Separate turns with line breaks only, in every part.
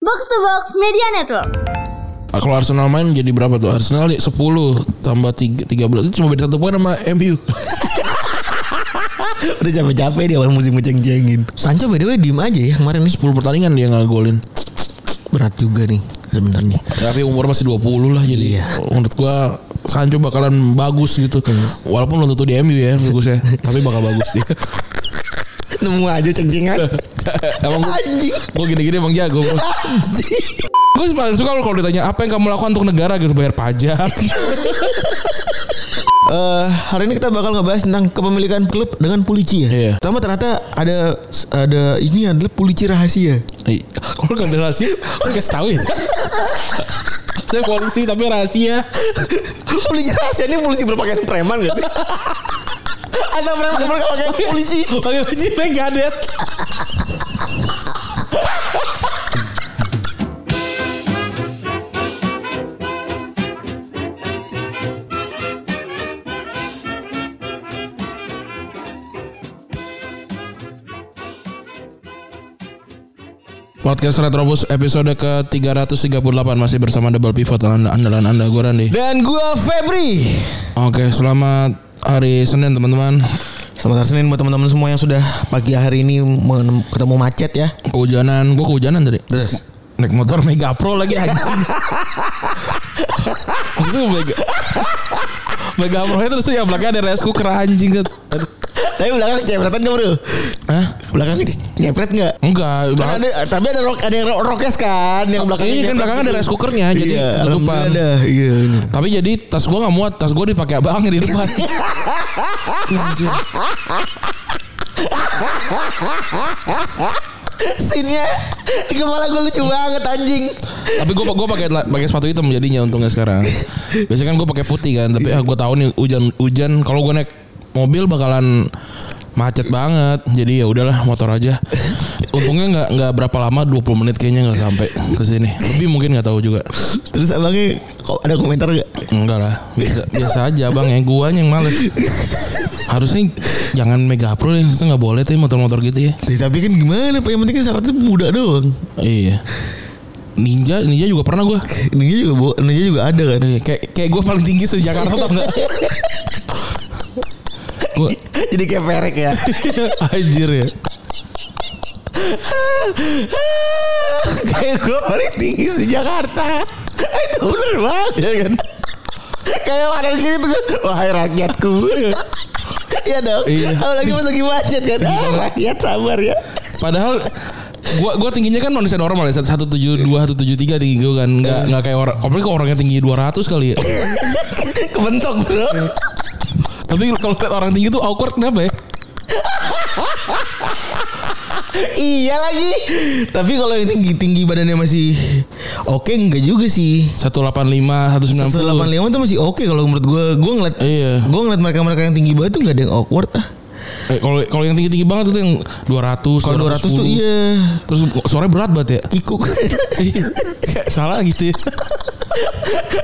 Box to Box Media Network.
Ah, Kalau Arsenal main jadi berapa tuh? Arsenal nih 10 tambah 3, 13 itu cuma beda satu poin sama MU.
Udah capek-capek di awal musim ngeceng-cengin. Sancho by the way diem aja ya kemarin nih.
10 pertandingan dia nggak golin.
Berat juga nih sebenarnya.
Tapi umur masih 20 lah jadi
Iya.
menurut gua Sancho bakalan bagus gitu. Walaupun belum tentu di MU ya bagusnya, tapi bakal bagus dia.
Nemu aja ceng-cengan.
emang gua,
Anjing.
gua gini-gini emang jago. Bos.
Anjing.
Gue paling suka kalau ditanya apa yang kamu lakukan untuk negara gitu bayar pajak.
Eh, hari ini kita bakal ngebahas tentang kepemilikan klub dengan polisi ya.
Iya.
Pertama ternyata ada ada ini adalah polisi rahasia.
Ih, Iya. Kalau nggak ada rahasia, kan kasih tahu ya. Saya polisi tapi rahasia.
polisi rahasia ini polisi berpakaian preman gak? Atau preman berpakaian polisi?
Pakai baju Megadeth. Podcast Retrobus episode ke-338 masih bersama Double Pivot andalan andalan Anda gue Randy.
Dan gua Febri.
Oke, selamat hari Senin teman-teman.
Selamat hari Senin buat teman-teman semua yang sudah pagi hari ini menem- ketemu macet ya.
Kehujanan, gue kehujanan tadi.
Terus
naik motor Mega Pro lagi anjing. itu Mega Mega Pro itu terus yang belakangnya ada rice cooker anjing gitu.
Tapi belakang cepretan gak bro?
Hah?
Belakang nyepret gak?
Enggak,
Kan
belakang,
ada, tapi ada rock, ada yang ro- rokes kan yang belakangnya.
ini kan
nyepret
belakangnya ada
gitu.
rice cookernya jadi
iya,
ketutupan.
alhamdulillah Ada, iya. bener.
Tapi jadi tas gua nggak muat, tas gua dipakai abang di depan.
Scene-nya di kepala gue lucu banget anjing.
tapi gua gua pakai pakai sepatu hitam jadinya untungnya sekarang. Biasanya kan gua pakai putih kan, tapi ah gua tahu nih hujan hujan kalau gua naik mobil bakalan macet banget. Jadi ya udahlah motor aja. Untungnya nggak nggak berapa lama 20 menit kayaknya nggak sampai ke sini. Lebih mungkin nggak tahu juga.
Terus abangnya kok ada komentar gak?
Enggak lah, biasa, biasa aja bang. Yang gua yang males. Harusnya jangan Mega Pro yang itu nggak boleh tuh motor-motor gitu ya.
Ya, tapi kan gimana Pak yang penting kan syaratnya muda doang.
Iya. Ninja, Ninja juga pernah gua.
Ninja juga bo- Ninja juga ada kan.
Iya, kayak kayak gue paling tinggi se Jakarta tau nggak? gue
Jadi kayak perek ya.
anjir ya.
kayak gue paling tinggi di Jakarta. Itu bener banget
Iya
ya kan. Kayak kanan kiri tuh kan, wahai rakyatku. Iya dong.
Iya.
Apalagi pas lagi macet kan. Ah, rakyat sabar ya.
Padahal gua gua tingginya kan manusia normal ya 172 173 tinggi gue kan nggak
Iya.
nggak kayak orang apalagi kalau orangnya tinggi 200 kali ya
Kebentok bro.
Iya. tapi kalau lihat orang tinggi tuh awkward kenapa ya
iya lagi. Tapi kalau yang tinggi tinggi badannya masih oke enggak juga sih.
185 190
185 tuh masih oke kalau menurut gue. Gue ngeliat
Iya.
Gue ngeliat mereka-mereka yang tinggi banget tuh nggak ada yang awkward ah.
Eh, kalau kalau yang tinggi-tinggi banget itu yang 200
Kalau 200 tuh
210.
iya
terus suaranya berat banget ya
kikuk.
Iya. Kayak salah gitu ya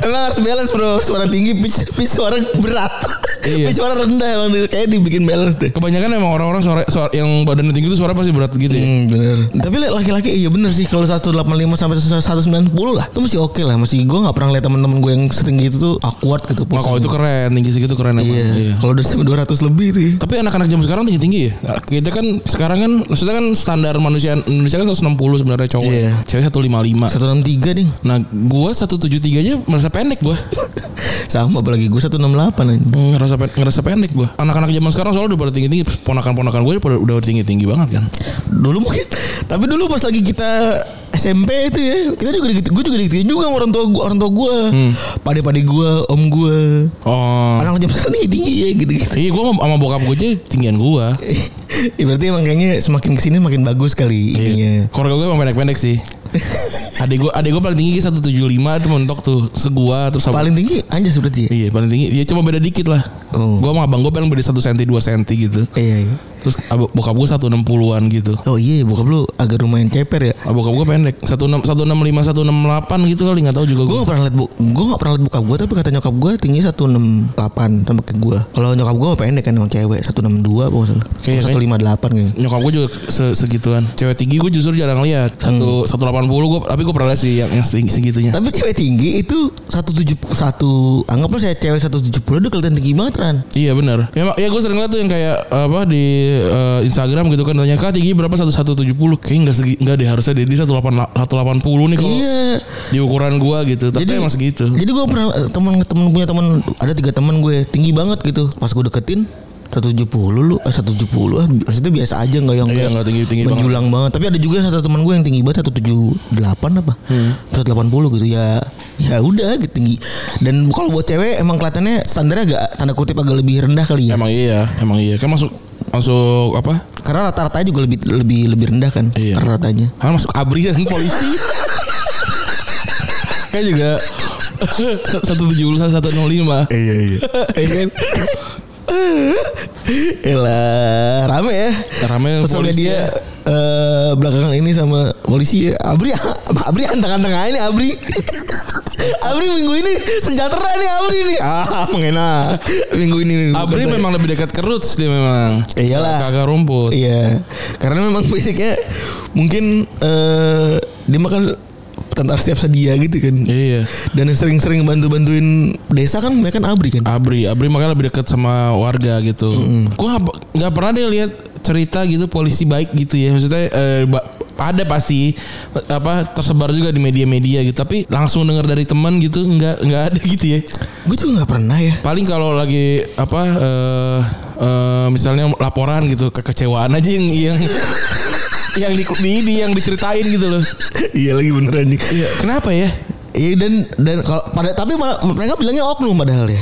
emang harus balance bro. Suara tinggi, pitch, pitch suara berat.
Iya.
Pitch suara rendah emang kayak dibikin balance deh.
kebanyakan emang orang-orang suara, suara yang badannya tinggi itu suara pasti berat gitu ya
Hmm, bener. Tapi laki-laki iya bener sih kalau 185 sampai 190 lah. Itu masih oke lah. Masih gue nggak pernah lihat teman-teman gue yang setinggi itu tuh awkward gitu.
Wah kalau itu keren tinggi segitu keren emang.
Iya. Kalau udah sampai 200 lebih tuh. ya.
Tapi anak-anak zaman sekarang tinggi-tinggi ya. Kita kan sekarang kan maksudnya kan standar manusia Indonesia kan 160 sebenarnya cowok.
Iya.
Cewek 155.
163 ding.
Nah, gua 173 aja merasa pendek gua.
Sama apalagi gue 168 anjing.
ngerasa pen- ngerasa pendek gua. Anak-anak zaman sekarang soalnya udah pada tinggi-tinggi, ponakan-ponakan gue udah udah tinggi-tinggi banget kan.
Dulu mungkin tapi dulu pas lagi kita SMP itu ya, kita juga gitu, gue juga digituin juga sama orang tua gue, orang tua gue, pade-pade gue, om gue,
Oh.
anak jam sekarang tinggi tinggi ya gitu-gitu.
Iya, gua sama, sama bokap gue aja tinggian gua.
ya, berarti emang kayaknya semakin kesini makin bagus kali ininya.
Keluarga gue emang pendek-pendek sih. adik gue adik gue paling tinggi 175 itu mentok tuh segua terus Iya, sama
Paling tinggi Anjas berarti ya.
Iya paling tinggi. Ya cuma beda dikit lah.
Oh.
Gua sama abang gue paling beda 1 cm 2 cm gitu.
Iya, iya.
Terus Terus ab- bokap gue 160-an gitu.
Oh iya bokap lu agak lumayan ceper ya.
Ah, Bokap gue pendek. 16 165 168 gitu kali nggak tahu juga
Gue
gue.
gak pernah liat bu, gue gak pernah liat bokap gue tapi kata nyokap gue tinggi 168 sama kayak gue. Kalau nyokap gue pendek kan emang cewek 162 apa nggak salah.
Kayaknya-
158 kayaknya.
Nyokap gue juga se- segituan. Cewek tinggi gue justru jarang lihat.
Hmm.
Satu 180 gue tapi gue pernah lihat sih yang, yang setinggi- segitunya.
Tapi cewek tinggi itu 171 anggaplah saya cewek 170 udah kelihatan tinggi banget kan.
Iya benar. Memang ya gue sering lihat tuh yang kayak apa di eh, Instagram gitu kan tanya kak tinggi berapa 1170. Kayaknya enggak segi enggak deh harusnya Dedi 18 180 nih kalau
Iya.
di ukuran gua gitu. Tapi emang segitu.
Jadi gue pernah teman teman punya teman ada tiga teman gue tinggi banget gitu. Pas gue deketin 170 lu eh 170 ah maksudnya biasa aja nggak yang
Iya,
kayak
nggak tinggi-tinggi banget.
menjulang banget. tapi ada juga satu teman gue yang tinggi banget 178 apa
Hmm.
180 gitu ya ya udah gitu tinggi dan kalau buat cewek emang kelihatannya standarnya agak tanda kutip agak lebih rendah kali ya
Emang iya, emang iya. Kan masuk masuk apa?
karena rata-rata juga lebih lebih lebih rendah kan
Iya.
rata-ratanya
Kan masuk ABRI dan polisi. kan juga 170 105.
iya iya
Iya kan?
Elah rame ya
Rame
Sosial
polisi
media
ya.
eh, belakangan ini sama polisi ya Abri Abri antang-antang aja nih Abri Abri minggu ini sejahtera nih Abri nih Ah mengena Minggu ini minggu
ABRI
kata-
memang lebih dekat ke roots dia memang.
Iyalah.
Kagak rumput.
Iya Karena memang basicnya Mungkin eh Dia makan tentara siap sedia gitu kan
Iya.
Dan sering-sering bantu-bantuin desa kan Mereka kan Abri kan
Abri, Abri makanya lebih dekat sama warga gitu. Gua hap- nggak pernah deh lihat cerita gitu polisi baik gitu ya. Maksudnya eh, ba- ada pasti apa tersebar juga di media-media gitu. Tapi langsung dengar dari teman gitu nggak nggak ada gitu ya.
Gue juga gak pernah ya
Paling kalau lagi apa eh eh, misalnya laporan gitu kekecewaan aja yang yang yang di, di- di- yang diceritain gitu loh.
Iya lagi beneran nih
Kenapa ya?
Iya dan dan kalau pada tapi malah- mereka bilangnya oknum padahal ya.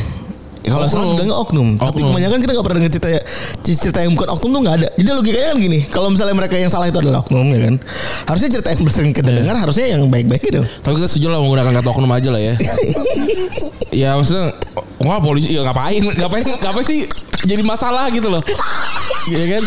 Ya, kalau
Oknum.
salah bilangnya oknum. Tapi
Oknum.
kebanyakan kita nggak pernah denger cerita ya. cerita yang bukan oknum tuh nggak ada. Jadi logikanya kan gini, kalau misalnya mereka yang salah itu adalah oknum ya kan, harusnya cerita yang sering kita
Iya.
dengar harusnya yang baik-baik gitu. dong.
Tapi kita setuju lah menggunakan kata oknum aja lah ya. ya maksudnya wah polisi ya ngapain ngapain ngapain sih jadi masalah gitu loh. Iya kan?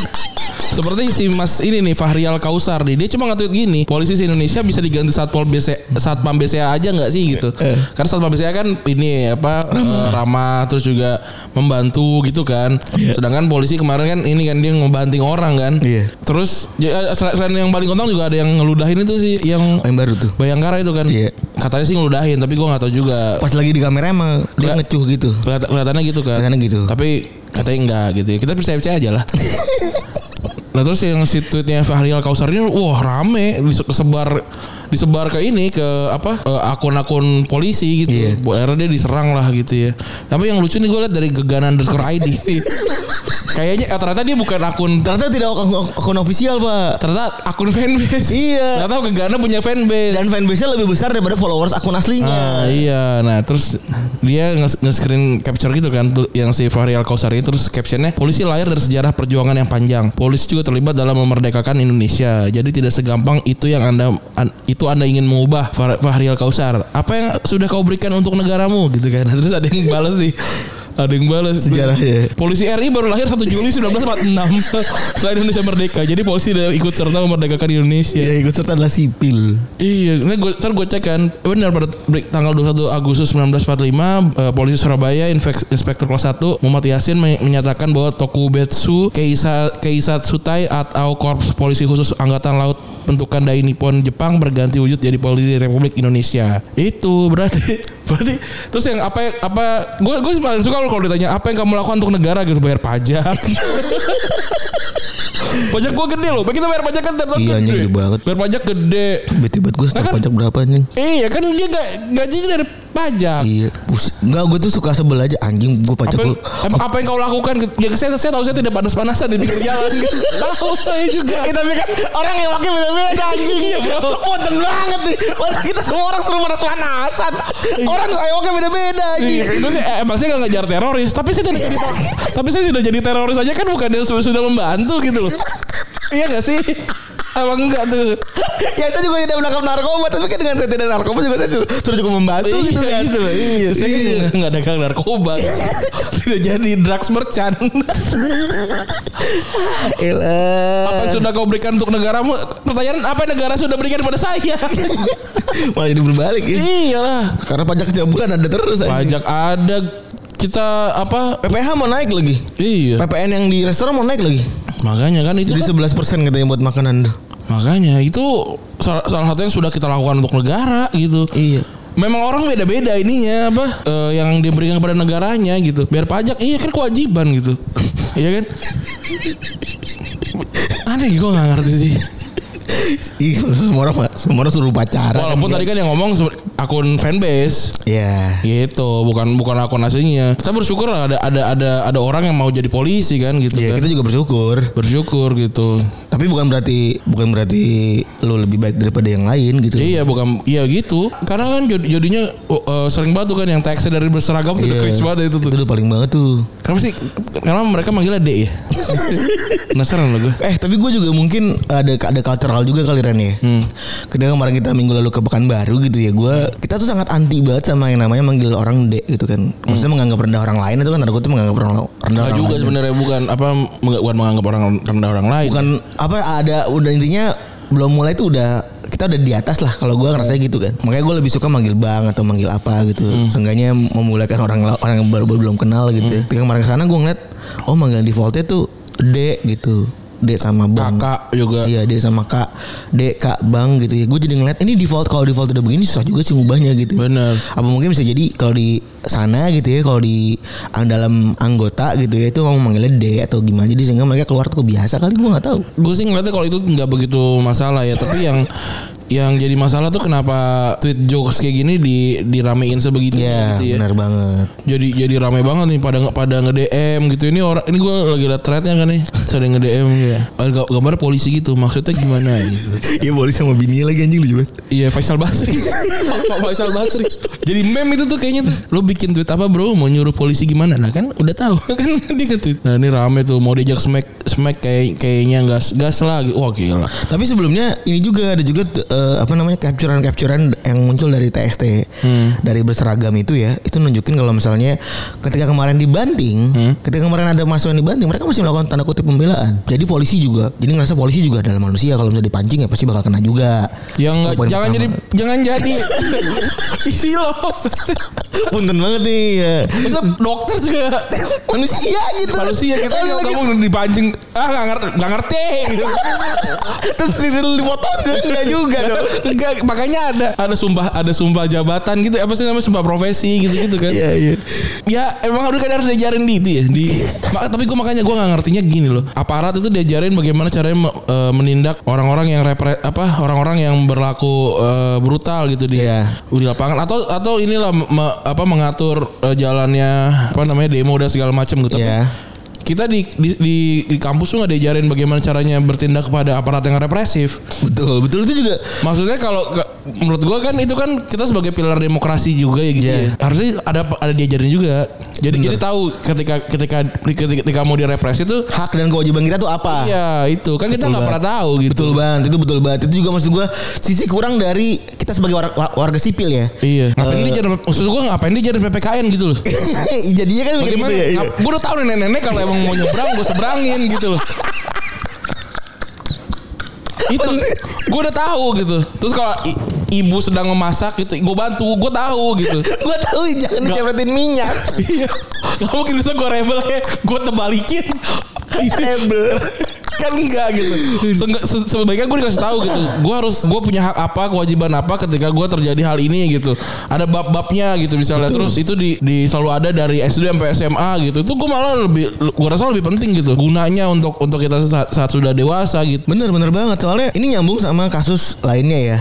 Seperti si Mas ini nih Fahrial Kausar nih, dia cuma nge-tweet gini, polisi di Indonesia bisa diganti Satpol BC Satpam BCA aja nggak sih gitu. Karena Satpam BCA kan ini apa ramah. ramah terus juga membantu gitu kan. Sedangkan polisi kemarin kan ini kan dia ngebanting orang kan.
Iya.
Terus ya, sel- selain yang paling kontol juga ada yang ngeludahin itu sih yang
Yang baru tuh.
Bayangkara itu kan.
Iya.
Katanya sih ngeludahin tapi gua nggak tahu juga.
Pas lagi di kamera emang dia
Nggak.
ngecuh gitu.
Kelihat- kelihatannya gitu kan.
Kelihatannya gitu.
Tapi katanya enggak gitu. ya. Kita percaya percaya aja lah. Nah terus yang si tweetnya Fahri Al Kausar ini wah rame Dise- disebar disebar ke ini ke apa eh, akun-akun polisi gitu.
Iya.
Bu- Akhirnya dia diserang lah gitu ya. Tapi yang lucu nih gue liat dari Gegan underscore ID. Kayaknya eh, ternyata dia bukan akun
Ternyata tidak akun, akun official pak.
ternyata akun fanbase.
Iya.
Ternyata Gegana punya fanbase.
Dan fanbase-nya lebih besar daripada followers akun aslinya.
Ah, iya, nah terus dia nge- nge-screen capture gitu kan tu- yang si Fahri Al Kausari terus captionnya polisi lahir dari sejarah perjuangan yang panjang. Polisi juga terlibat dalam memerdekakan Indonesia. Jadi tidak segampang itu yang Anda an- itu Anda ingin mengubah Fah- Fahri Al Kausar. Apa yang sudah kau berikan untuk negaramu gitu kan. Terus ada yang balas nih. Ada yang balas
Sejarahnya.
Polisi RI baru lahir 1 Juli 1946 setelah Indonesia merdeka. Jadi polisi udah ikut serta memerdekakan Indonesia.
Ya ikut serta adalah sipil.
Iya, nggak gue ntar gue cek kan. Benar pada break- tanggal 21 Agustus 1945 eh, polisi Surabaya infek- inspektur kelas 1 Muhammad Yasin men- menyatakan bahwa Tokubetsu Keisa Keisat Sutai atau Korps Polisi Khusus Angkatan Laut bentukan Dai Nippon Jepang berganti wujud jadi polisi Republik Indonesia. Itu berarti berarti terus yang apa yang- apa gue gue paling suka kalau ditanya apa yang kamu lakukan untuk negara gitu bayar pajak. pajak gue gede loh. Kita bayar pajak kan tiap tahun
Iya, anjing,
gede.
gede banget.
Bayar pajak gede.
Bete banget gue
Nah,
stok
kan-
pajak berapa anjing?
Iya kan dia gak gajinya dari pajak.
Iya, Bus- enggak gue tuh suka sebel aja anjing gue
Ah.
pajak
Apa yang,
gua-
apa, apa yang kau lakukan? Ya saya, saya tahu saya tidak panas-panasan di pinggir jalan. tahu saya juga.
Eh, tapi kan orang yang pakai beda-beda anjing.
Iya, bro.
Wonten banget nih. Masa kita semua orang suruh pada panasan. Orang yang pakai beda-beda anjing.
Iya, itu sih eh, emang saya gak ngejar teroris, tapi saya tidak jadi tapi saya tidak jadi teroris aja kan bukan dia sudah, sudah membantu gitu loh. Iya gak sih? apa enggak tuh
ya saya juga tidak menangkap narkoba tapi kan dengan saya tidak narkoba juga saya juga- sudah cukup membantu
Iya
gitu kan
gitu loh Iya Saya kan nggak- nggak dagang narkoba Tidak jadi drugs merchant
Elah.
Apa yang sudah kau berikan untuk negaramu Pertanyaan apa yang negara sudah berikan kepada saya
malah jadi berbalik ya.
Iya lah
karena pajak tiap bulan ada terus anjing.
Pajak ada Kita apa
PPH mau naik lagi
Iya
PPN yang di restoran mau naik lagi
Makanya kan itu
jadi
kan-
11 persen katanya buat makanan tuh
Makanya itu salah, salah satu yang sudah kita lakukan untuk negara gitu
iya
Memang orang beda-beda ininya apa eh, yang diberikan kepada negaranya gitu. Biar pajak iya kan kewajiban gitu. iya kan? Aneh gue gak ngerti sih.
Ih, Iya, semua orang semua orang suruh pacaran
Walaupun tadi kan yang ngomong sebe- akun fanbase
ya
gitu, bukan bukan akun aslinya. Kita bersyukur lah ada ada ada ada orang yang mau jadi polisi kan gitu
ya
kan.
kita juga bersyukur
Bersyukur gitu.
tapi bukan berarti bukan berarti lu lebih baik daripada yang lain gitu
Iya bukan iya gitu. Karena kan jod- jadinya eh, sering banget tuh kan yang teksnya dari berseragam tuh udah
Iya.
cringe banget itu tuh.
itu udah paling banget tuh
Kenapa sih? Karena mereka manggilnya D ya. Penasaran loh gue.
Eh tapi gue juga mungkin ada ada cultural juga kali Ren ya.
Hmm.
Ketika kemarin kita minggu lalu ke Pekanbaru gitu ya, gue kita tuh sangat anti banget sama yang namanya manggil orang dek gitu kan. Maksudnya menganggap rendah orang lain itu kan ada gue tuh menganggap orang rendah
Enggak
orang
Hmm. juga
lain.
sebenarnya bukan apa meng- bukan menganggap orang rendah orang lain.
Bukan apa ada udah intinya belum mulai tuh udah kita udah di atas lah kalau gue ngerasa gitu kan. Makanya gue lebih suka manggil bang atau manggil apa gitu.
Hmm.
Seenggaknya memulakan orang la- orang yang baru, baru belum kenal gitu. ya. Ketika kemarin kesana gue ngeliat oh manggilan defaultnya tuh dek gitu. Dek sama bang.
kakak juga.
Iya dia sama kak Dek kak bang gitu ya Gue jadi ngeliat ini default Kalau default udah begini susah juga sih ngubahnya gitu
Bener.
Apa mungkin bisa jadi Kalau di sana gitu ya Kalau di ang- dalam anggota gitu ya Itu mau manggilnya D atau gimana Jadi sehingga mereka keluar tuh kebiasa kali gue gak tahu
Gue sih ngeliatnya kalau itu nggak begitu masalah ya, tapi yang yang jadi masalah tuh kenapa tweet jokes kayak gini di diramein sebegitu
Iya
gitu ya.
benar banget
Jadi jadi rame banget nih pada pada nge DM gitu ini orang ini gue lagi liat threadnya kan nih sering nge DM ya gambar polisi gitu maksudnya gimana gitu
Iya boleh sama bininya lagi anjing lucu banget
Iya Faisal Basri Pak Faisal Basri Jadi meme itu tuh kayaknya tuh Lo bikin tweet apa bro Mau nyuruh polisi gimana Nah kan udah tahu Kan dia nge-tweet Nah ini rame tuh Mau diajak smack Smack kayak, kayaknya gas Gas lagi gitu. Wah gila
Tapi sebelumnya ini juga ada juga eh, apa namanya capturean-capturean yang muncul dari TST
Hmm.
dari berseragam itu ya itu nunjukin kalau misalnya ketika kemarin dibanting,
Hmm.
ketika kemarin ada masukan dibanting mereka masih melakukan tanda kutip pembelaan. Jadi polisi juga, jadi ngerasa polisi juga adalah manusia kalau misalnya dipancing ya pasti bakal kena juga.
Yang Ya nggak
Itu poin
Jangan
pertama.
jadi Jangan jadi Isi lo
punten banget nih. ya.
Masa dokter juga
Manusia gitu.
Manusia kita
Kalau
nggak
lagi
ngomong dipancing Ah gak ngerti, gak ngerti. gitu.
terus dipotong enggak juga dong.
Enggak Makanya ada Ada sumpah Ada sumpah jabatan gitu Apa sih namanya Sumpah profesi gitu-gitu kan
Iya iya.
Ya emang harus kan harus diajarin di itu ya di Ma- tapi gue makanya gue nggak ngertinya gini loh aparat itu diajarin bagaimana caranya me- eh, menindak orang-orang yang repre, apa orang-orang yang berlaku eh, brutal gitu di
Iya.
di lapangan atau atau inilah me- apa mengatur eh, jalannya apa namanya demo dan segala macam gitu
Iya.
kita di di, di, di kampus tuh nggak diajarin bagaimana caranya bertindak kepada aparat yang represif
Betul, betul itu juga
Maksudnya kalau ke- menurut gua kan itu kan kita sebagai pilar demokrasi juga ya gitu
Iya.
ya. Harusnya ada ada diajarin juga. Jadi jadi tahu ketika ketika ketika, ketika mau direpresi itu
hak dan kewajiban kita tuh apa?
ya itu kan kita nggak
Ah. banget.
pernah tahu gitu.
Betul banget, itu betul banget. Itu juga maksud gua sisi kurang dari kita sebagai war- wa- warga, sipil ya.
Iya. Ngapain dia jadi maksud gua ngapain dia jadi PPKN gitu loh.
Jadinya kan kayak
Bagaimana?
gitu ya, iya.
ngap- Gua udah tahu nih nenek-nenek kalau emang mau nyebrang gua seberangin gitu loh. itu gua udah tahu gitu. Terus kalau i- ibu sedang memasak gitu, gua bantu, gua tahu gitu.
Gua tahu jangan dicepretin minyak.
Iya. Gak mungkin bisa gue rebel ya. Gue tebalikin.
Rebel.
kan enggak gitu. Seenggak- se- sebaiknya gue dikasih tahu gitu. Gue harus gue punya hak apa, kewajiban apa ketika gue terjadi hal ini gitu. Ada bab-babnya gitu misalnya. Terus itu di, di selalu ada dari SD sampai SMA gitu. Itu gue malah lebih gue rasa lebih penting gitu. Gunanya untuk untuk kita saat, saat sudah dewasa gitu.
Bener bener banget soalnya
Hmm.
ini nyambung sama kasus lainnya ya.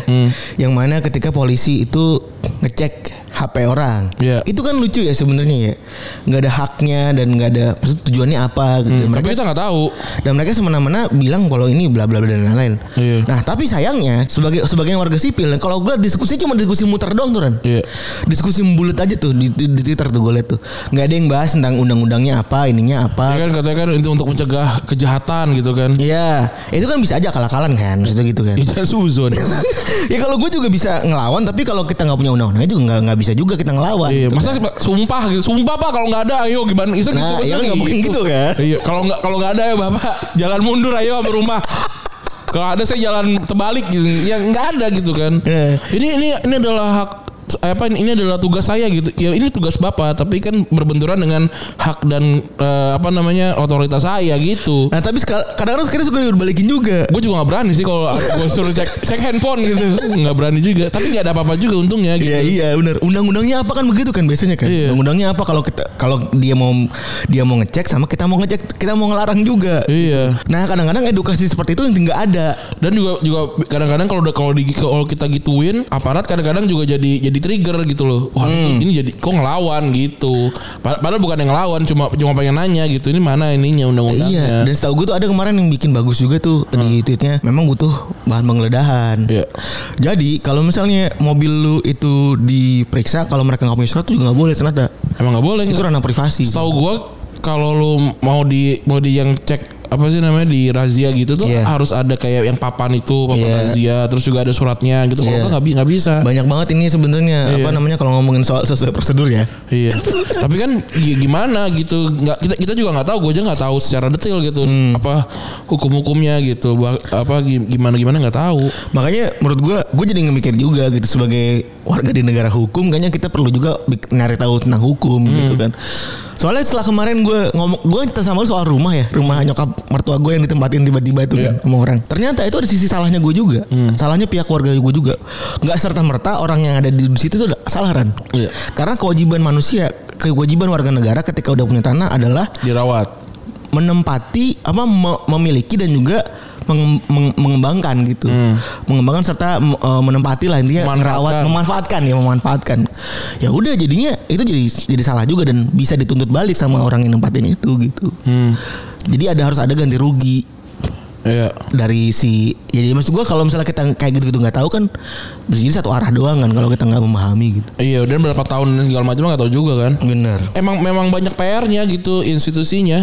Yang mana ketika polisi itu ngecek HP orang.
Iya.
Itu kan lucu ya sebenarnya ya. Nggak ada haknya dan nggak ada maksud tujuannya apa gitu.
Hmm, Tapi kita nggak tahu.
dan mereka semena-mena bilang kalau ini bla bla bla dan lain-lain.
Iya.
Nah tapi sayangnya sebagai sebagai warga sipil, kalau gue liat diskusinya cuma diskusi muter doang tuh Ren.
Iya.
Diskusi bulat aja tuh di, di, di Twitter tuh gue liat tuh. Nggak ada yang bahas tentang undang-undangnya apa, ininya apa.
Ya kan katanya kan itu untuk mencegah kejahatan gitu kan.
Iya, itu kan bisa aja kalah-kalan kan, maksudnya gitu kan.
Itu suzon.
ya kalau gue juga bisa ngelawan, tapi kalau kita nggak punya undang-undangnya juga nggak nggak bisa juga kita ngelawan.
Iya,
gitu
masa
kan.
sumpah gitu. Sumpah Pak kalau nggak ada ayo gimana? Isa gitu
Nah,
kan,
iya kan
Isa
nggak mungkin gitu kan.
Iya, kalau nggak kalau nggak ada ya Bapak jalan mundur ayo ke rumah. kalau ada saya jalan terbalik gitu. Ya nggak ada gitu kan.
Iya.
ini ini ini adalah hak apa ini adalah tugas saya gitu ya ini tugas bapak tapi kan berbenturan dengan hak dan eh, apa namanya otoritas saya gitu
Nah tapi sekal- kadang-kadang kita suka dibalikin juga.
gue juga nggak berani sih kalau gue suruh cek cek handphone gitu nggak berani juga tapi nggak ada apa-apa juga untungnya gitu.
Iya iya benar. Undang-undangnya apa kan begitu kan biasanya kan.
Iya.
Undang-undangnya apa kalau kita kalau dia mau dia mau ngecek sama kita mau ngecek kita mau ngelarang juga.
iya
Nah kadang-kadang edukasi seperti itu yang nggak ada.
dan juga juga kadang-kadang kalau udah kalau di kalau kita gituin aparat kadang-kadang juga jadi jadi trigger gitu loh wah
Hmm.
ini jadi kok ngelawan gitu Pad- padahal bukan yang ngelawan cuma cuma pengen nanya gitu ini mana ininya
Iya.
undang-undangnya
Dan setahu gue tuh ada kemarin yang bikin bagus juga tuh di tweetnya. Memang butuh bahan penggeledahan.
Iya.
Jadi kalau misalnya mobil lu itu diperiksa kalau mereka nggak punya surat tuh juga nggak boleh ternyata.
emang nggak boleh
Itu
gitu
ranah privasi.
tahu gua kalau lu mau di mau di yang cek apa sih namanya di razia gitu tuh
Iya.
harus ada kayak yang papan itu papan
Iya.
razia terus juga ada suratnya gitu kalau
Iya.
nggak nggak bi- nggak bisa
Banyak banget ini sebenarnya apa namanya kalau ngomongin soal sesuai prosedur ya.
Iya. Tapi kan gi- gimana gitu? Nggak kita kita juga nggak tahu. Gue aja nggak tahu secara detail gitu apa hukum-hukumnya gitu. Ba- Apa gimana gimana nggak tahu.
Makanya menurut gua gue jadi ngemikir juga gitu sebagai warga di negara hukum, kayaknya kita perlu juga bik- nyari tahu tentang hukum gitu kan. Soalnya setelah kemarin gue ngomong, gue cerita sama lu soal rumah ya, rumah nyokap mertua gue yang ditempatin tiba-tiba itu kan sama orang. Ternyata itu ada sisi salahnya gue juga, salahnya pihak warga gue juga. Nggak serta merta orang yang ada di, di situ itu salah Ran.
Iya.
Karena kewajiban manusia, kewajiban warga negara ketika udah punya tanah adalah
Dirawat.
menempati apa me- memiliki dan juga menge- menge- mengembangkan gitu mengembangkan serta mm, eh, menempati lah intinya
Hmm. Memanfaatkan.
merawat memanfaatkan ya memanfaatkan ya udah jadinya itu jadi jadi salah juga dan bisa dituntut balik sama orang yang nempatin itu gitu jadi ada harus ada ganti rugi
Iya.
dari si ya, jadi maksud gua kalau misalnya kita kayak gitu gitu nggak tahu kan jadi satu arah doang kan kalau kita nggak memahami gitu
Iya. Dan berapa tahun dan segala macam nggak tahu juga kan.
bener
Emang memang banyak PR-nya gitu institusinya.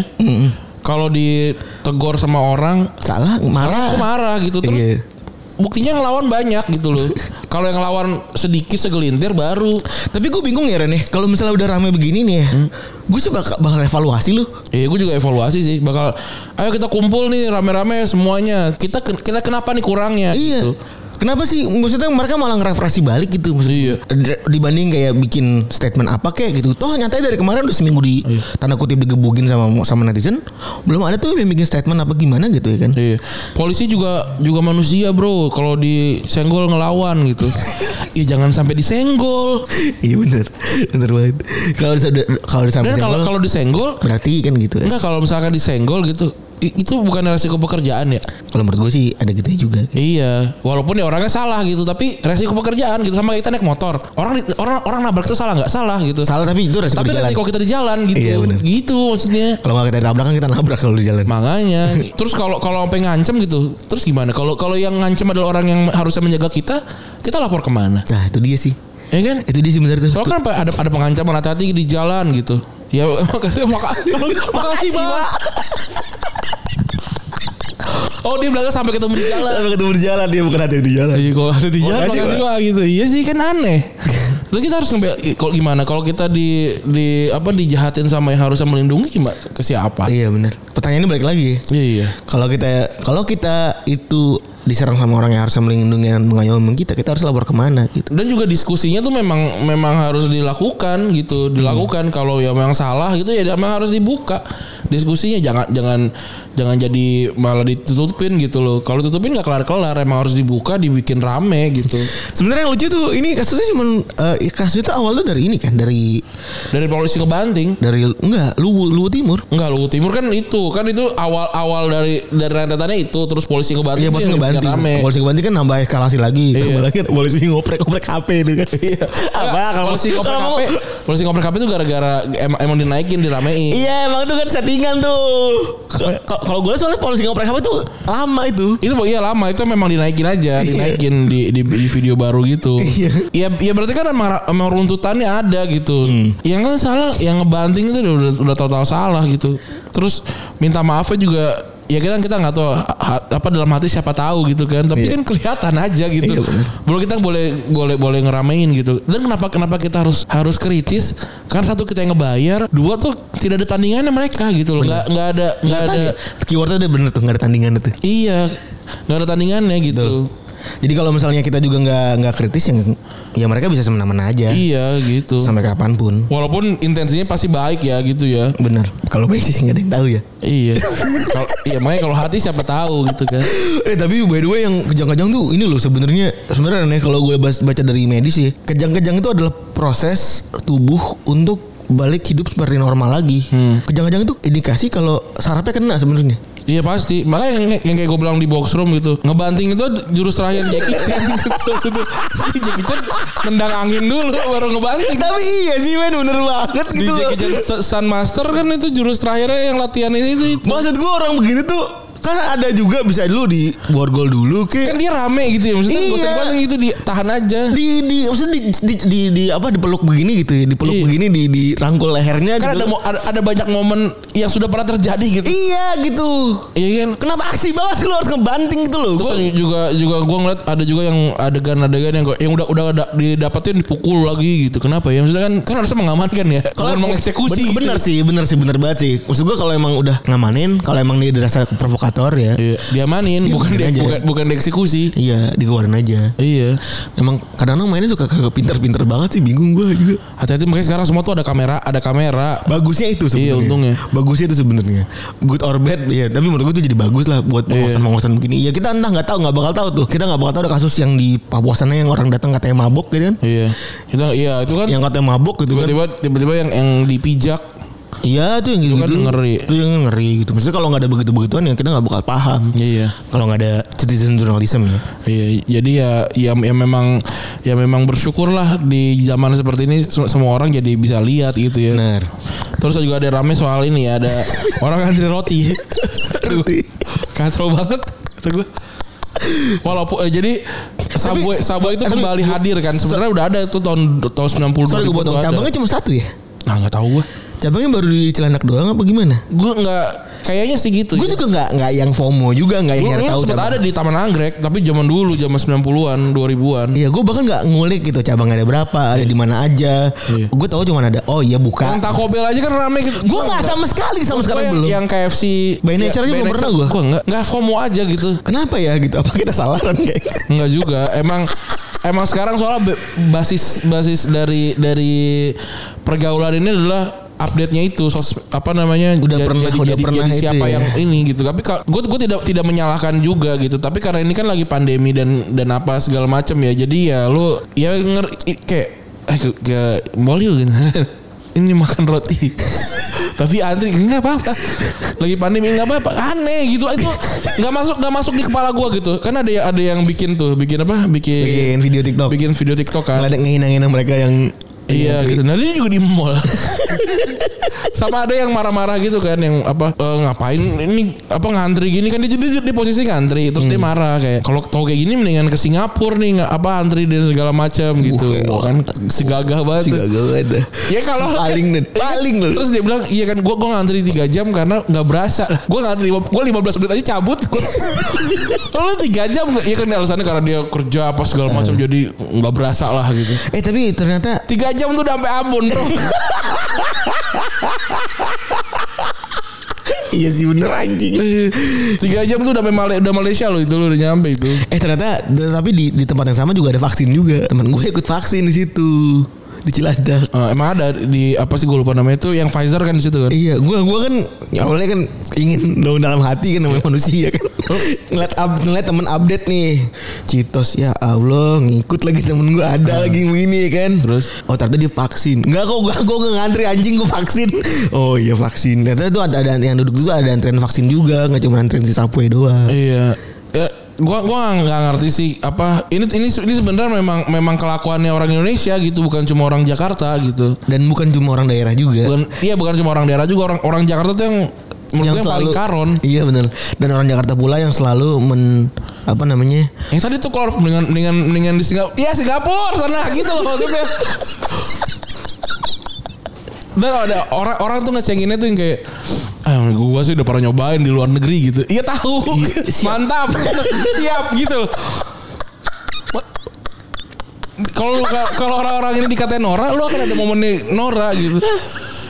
Kalau ditegor sama orang,
salah
aku
marah
marah gitu terus.
Iya.
Buktinya yang ngelawan banyak gitu loh. Kalau yang ngelawan sedikit segelintir baru.
Tapi gue bingung ya Ren ya Kalau misalnya udah rame begini nih ya
Hmm.
Gue sih bakal, bakal evaluasi lu
Iya, gue juga evaluasi sih. Bakal, ayo kita kumpul nih rame-rame semuanya. Kita kita kenapa nih kurangnya? gitu.
Iya Kenapa sih maksudnya mereka malah ngereferensi balik gitu
Iya.
maksudnya dibanding kayak bikin statement apa kayak gitu. Toh nyatanya dari kemarin udah seminggu di
Iya.
tanda kutip digebukin sama sama netizen, belum ada tuh yang bikin statement apa gimana gitu ya kan.
Iya. Polisi juga juga manusia bro. Kalau disenggol ngelawan gitu. Iya jangan sampai disenggol.
Iya bener bener banget. Kalau udah kalau udah sampai
Dan kalau
senggol,
kalau disenggol,
berarti kan gitu. ya.
enggak kalau misalkan disenggol gitu, i- itu bukan resiko pekerjaan ya.
Kalau menurut gue sih ada gitu juga.
Iya, walaupun ya orangnya salah gitu, tapi resiko pekerjaan gitu sama kita naik motor. Orang di- orang orang nabrak itu salah nggak salah gitu.
Salah tapi itu resiko
tapi
di jalan.
resiko kita di jalan gitu.
Iya, bener.
gitu maksudnya.
Kalau nggak kita tabrak kan kita nabrak kalau di jalan.
Makanya, terus kalau kalau sampai ngancem gitu, terus gimana? Kalau kalau yang ngancem adalah orang yang harusnya menjaga kita, kita lapor kemana?
Nah itu dia sih.
Ya kan?
Itu dia sih bener tuh.
Kalau kan apa- ada ada pengancaman hati-hati di jalan gitu. Ya makasih makasih makasih Pak. Oh dia bilang sampai ketemu di jalan.
Sampai ketemu di jalan dia bukan hati di jalan.
Iya kalau hati di jalan
Makasih,
makasih,
Pak.
Pak, gitu. Iya sih kan aneh. Lalu kita harus ngebel kalau gimana? Kalau kita di di apa dijahatin sama yang harusnya melindungi gimana ke siapa?
Iya benar. Pertanyaannya balik lagi. ya.
Iya.
Kalau kita kalau kita itu diserang sama orang yang harus melindungi dan mengayomi kita, kita harus lapor kemana gitu.
dan juga diskusinya tuh memang memang harus dilakukan gitu dilakukan kalau ya memang salah gitu ya memang harus dibuka diskusinya jangan jangan jangan jadi malah ditutupin gitu loh kalau tutupin nggak kelar kelar emang harus dibuka dibikin rame gitu
Sebenarnya yang lucu tuh ini kasusnya cuma eh, kasus itu awalnya dari ini kan dari
Dari polisi ke Banting.
dari enggak Luwu Luwu Timur.
Enggak Luwu Timur kan itu kan itu awal awal dari dari rentetannya itu terus polisi ke Banting.
Iya polisi
itu yang bikin
ngebanting.
rame.
Polisi ngebanting kan nambah eskalasi lagi.
Iya.
Tambah lagi kan polisi ngoprek-ngoprek HP itu kan. Iya. Apa
Enggak,
kalau
polisi ngoprek
kalau
HP,
mau-
polisi ngoprek HP itu gara-gara emang, emang dinaikin, diramein.
Iya emang itu kan settingan tuh. K- k- Kalau gue soalnya polisi ngoprek HP tuh lama itu.
Itu iya lama itu memang dinaikin aja, dinaikin di, di, di video baru gitu.
Iya.
Iya, ya berarti kan emang, emang runtutannya ada gitu.
Hmm.
Yang kan salah, yang ngebanting itu udah udah, udah total salah gitu. Terus minta maafnya juga ya kita kita nggak tahu ha- apa dalam hati siapa tahu gitu kan tapi
Iya.
kan kelihatan aja gitu
Iya, bener.
boleh kita boleh boleh boleh ngeramein gitu dan kenapa kenapa kita harus harus kritis karena satu kita yang ngebayar dua tuh tidak ada tandingannya mereka gitu loh nggak nggak ada nggak ada
Tadi, keywordnya udah bener tuh nggak ada tandingan itu.
Iya, nggak ada tandingannya gitu.
Jadi kalau misalnya kita juga nggak nggak kritis ya, ya mereka bisa semena-mena aja
Iya gitu.
sampai kapanpun.
Walaupun intensinya pasti baik ya gitu ya.
Bener. Kalau baik sih nggak ada yang tahu ya.
Iya. Kalau- iya makanya kalau hati siapa tahu gitu kan.
Eh tapi by the way yang kejang-kejang tuh ini loh sebenarnya sebenarnya aneh kalau gue bas- baca dari medis ya kejang-kejang itu adalah proses tubuh untuk balik hidup seperti normal lagi. Kejang-kejang itu indikasi kalau sarafnya kena sebenarnya.
Iya pasti. Makanya yang, yang kayak gue bilang di box room gitu. Ngebanting itu jurus terakhir Jackie Chan gitu. Maksudnya, Jadi Jackie Chan nendang angin dulu baru ngebanting.
Tapi iya sih men bener banget
Di
gitu. loh.
Jackie Chan Sun Master kan itu jurus terakhirnya yang latihan ini itu. itu.
Maksud gue orang begini tuh kan ada juga bisa dulu di borgol dulu
Kan
ke
dia rame gitu ya. Maksudnya
Iya.
goseng-goseng gitu ditahan aja.
di di maksudnya di di, di, di- apa dipeluk begini gitu ya dipeluk
Iya.
begini di di rangkul lehernya
Kan
gitu.
ada, mo- ada, ada banyak momen yang sudah pernah terjadi gitu.
iya gitu
Iya kan?
kenapa aksi banget sih lo harus ngebanting gitu loh
Terus
Gua-
juga juga gua ngeliat ada juga yang adegan-adegan yang yang udah udah da- didapetin dipukul lagi gitu. Kenapa ya? Maksudnya kan kan harusnya mengamankan ya. Bukan mengeksekusi.
iya, bener,
gitu.
bener sih bener sih bener banget sih maksud gua kalau emang udah ngamanin kalau emang dia dirasa provokator ya
Iya, diamanin bukan
Diamanin
di,
aja. ya.
bukan bukan dieksekusi.
iya dikeluarin aja
Iya.
emang kadang-kadang mainnya suka kagak pinter-pinter banget sih bingung gua juga
Hati-hati makanya sekarang semua tuh ada kamera, ada kamera.
bagusnya itu sebenarnya
Iya, untungnya.
bagusnya itu sebenarnya good or bad ya tapi menurut gua itu jadi bagus lah buat
Iya.
pengawasan-pengawasan begini ya kita entah nggak tahu nggak bakal tahu tuh kita nggak bakal tahu ada kasus yang di Papua sana yang orang datang katanya mabok gitu kan
Iya. Kita iya itu kan
yang katanya mabok gitu kan
tiba-tiba tiba-tiba yang yang dipijak.
iya tuh yang gitu,
kan ngeri.
itu yang ngeri gitu maksudnya kalau nggak ada begitu-begituan ya kita nggak bakal paham
Iya.
kalau nggak ada citizen journalism ya
Iya, jadi ya, ya ya memang ya memang bersyukurlah di zaman seperti ini se- semua orang jadi bisa lihat gitu ya.
Benar.
Terus juga ada rame soal ini ya ada orang antri roti. Aduh, kacau banget kata gue. Walaupun eh, jadi Subway
Tapi-
Subway itu
tapi-
kembali hadir kan. Sebenarnya udah ada itu tahun tahun 90
Sorry gue potong cabangnya cuma satu ya.
Nah, enggak tahu gue.
Cabangnya baru di Cilandak doang apa gimana?
Gue enggak kayaknya sih gitu.
Gue
ya.
juga nggak nggak yang FOMO juga nggak yang
Dulu,
nyari
dulu
tahu.
sempet
cabang.
ada di Taman Anggrek, tapi zaman dulu, zaman 90-an, 2000-an.
Iya gue bahkan nggak ngulik gitu cabang ada berapa ada di mana aja.
Iya.
Gue tahu cuma ada oh iya
Yang
buka.
Taco Bell aja kan rame gitu.
Gue nggak sama sekali sama sekarang
yang,
belum.
Yang KFC
By nature-nya belum pernah gua.
Gue enggak enggak FOMO aja gitu.
Kenapa ya gitu? Apa kita salah kan kayaknya?
Enggak juga. Emang emang sekarang soalnya be- basis basis dari dari pergaulan ini adalah update-nya itu sos, apa namanya
Udah pernah- udah pernah itu
siapa
ya.
yang ini gitu tapi gue gue tidak tidak menyalahkan juga gitu tapi karena ini kan lagi pandemi dan dan apa segala macam ya jadi ya lu ya nger, i- kayak eh ke, ke mall yuk, gitu ini makan roti tapi antri nggak apa-apa lagi pandemi nggak apa-apa aneh gitu itu nggak masuk nggak masuk di kepala gue gitu kan ada yang- ada yang bikin tuh bikin apa bikin
Bikin video TikTok.
Iya. bikin video TikTok kan
Nggak ada ngehina-ngehina mereka yang
Iya gitu. Nah dia juga di mall. Sama ada yang marah-marah gitu kan yang apa "Eh, ngapain ini apa ngantri gini kan dia jadi di posisi ngantri terus dia marah kayak kalau tau kayak gini mendingan ke Singapura nih nggak apa antri dan segala macam gitu
gila.
kan segagah banget.
Si
tuh.
gagal ada.
Ya kalau
paling dan paling loh.
Terus dia bilang iya kan gua gua ngantri 3 jam karena nggak berasa. Gua ngantri lima- gua 15 menit aja cabut. Gua, lu 3 jam nggak? Iya kan alasannya karena dia kerja apa segala macam jadi nggak berasa lah gitu.
Eh tapi ternyata
Tiga jam tuh udah sampai Ambon bro.
iya sih bener anjing.
Tiga jam tuh udah sampai Male- udah Malaysia loh itu lu udah nyampe itu.
Eh ternyata tapi di, di tempat yang sama juga ada vaksin juga. Temen gue ikut vaksin di situ. di Cilandak.
Eh, emang ada di apa sih gue lupa namanya itu yang Pfizer kan di situ kan?
Iya, gua gua kan ya awalnya kan ingin dong dalam hati
Iya.
kan namanya manusia kan.
Oh.
ngeliat up, ngeliat temen update nih. Citos ya Allah ngikut lagi temen gua ada lagi begini ya kan.
Ah. Terus?
oh ternyata dia vaksin. Enggak kok gua gua nggak ngantri anjing gua vaksin. Oh iya vaksin. Ternyata itu ada ada yang duduk itu ada antrian vaksin juga, nggak cuma antrian si Sapue doang.
Iya. Ya, gua gua nggak- nggak ngerti sih apa ini ini ini sebenarnya memang memang kelakuannya orang Indonesia gitu bukan cuma orang Jakarta gitu.
Dan bukan cuma orang daerah juga.
Bukan iya bukan cuma orang daerah juga orang orang Jakarta tuh yang menurut gue yang paling karon.
Iya benar. Dan orang Jakarta pula yang selalu men apa namanya?
Yang tadi tuh kalau dengan dengan dengan di Singapura, ya Singapura sana gitu loh maksudnya. Dan ada orang orang tuh ngecenginnya tuh yang kayak Ah, gua sih udah pernah nyobain di luar negeri gitu. Iya tahu. Mantap. Siap gitu loh. Ma- Kalau lu- kalau orang-orang ini dikatain Nora, lu akan ada momennya Nora gitu.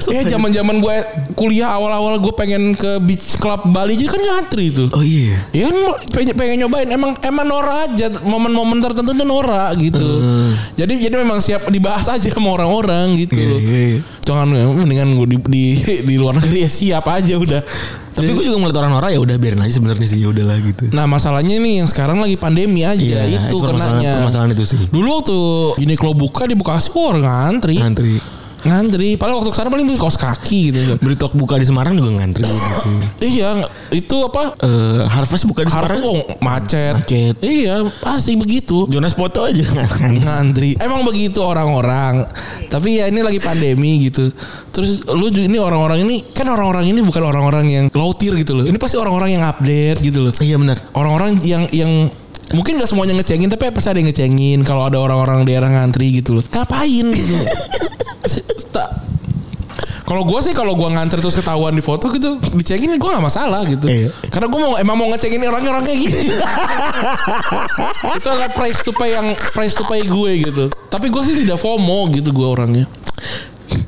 Ya zaman-zaman gue kuliah awal-awal gue pengen ke beach club Bali jadi kan ngantri itu.
Oh iya.
Ya kan pengen, pengen nyobain emang emang Nora aja momen-momen tertentu tuh Nora gitu.
Hmm.
Jadi jadi memang siap dibahas aja sama orang-orang gitu
Iya,
loh.
iya, iya.
Jangan ya, mendingan gue di, di di luar negeri ya siap aja udah.
Tapi gue juga ngeliat orang-orang ya udah biarin aja sebenarnya sih ya udahlah gitu.
Nah masalahnya nih yang sekarang lagi pandemi aja Iya, itu ya.
permasalahan-
kenanya.
Iya, Permasalahan itu sih.
Dulu waktu Uniqlo buka di Bekasi orang ngantri.
Ngantri.
Ngantri. Padahal waktu sekarang paling beli kaos kaki gitu.
Beritok buka di Semarang juga ngantri. gitu.
iya, itu apa?
Eh, Harvest buka di
Harus
Semarang.
kok macet.
Macet.
Iya, pasti begitu.
Jonas foto aja.
ngantri emang begitu orang-orang tapi ya ini lagi pandemi gitu terus lu ju- ini orang-orang ini kan orang-orang ini bukan orang-orang yang low tier gitu loh ini pasti orang-orang yang update gitu loh
iya benar.
orang-orang yang yang mungkin gak semuanya ngecengin tapi pasti ada yang ngecengin kalau ada orang-orang daerah ngantri gitu loh ngapain gitu Se- tak- kalau gue sih kalau gue ngantri terus ketahuan di foto gitu dicengin gue gak masalah gitu
Iya.
karena gue mau emang mau ngecengin orangnya orang kayak gini itu adalah price to pay yang price to pay gue gitu tapi gue sih tidak FOMO gitu gue orangnya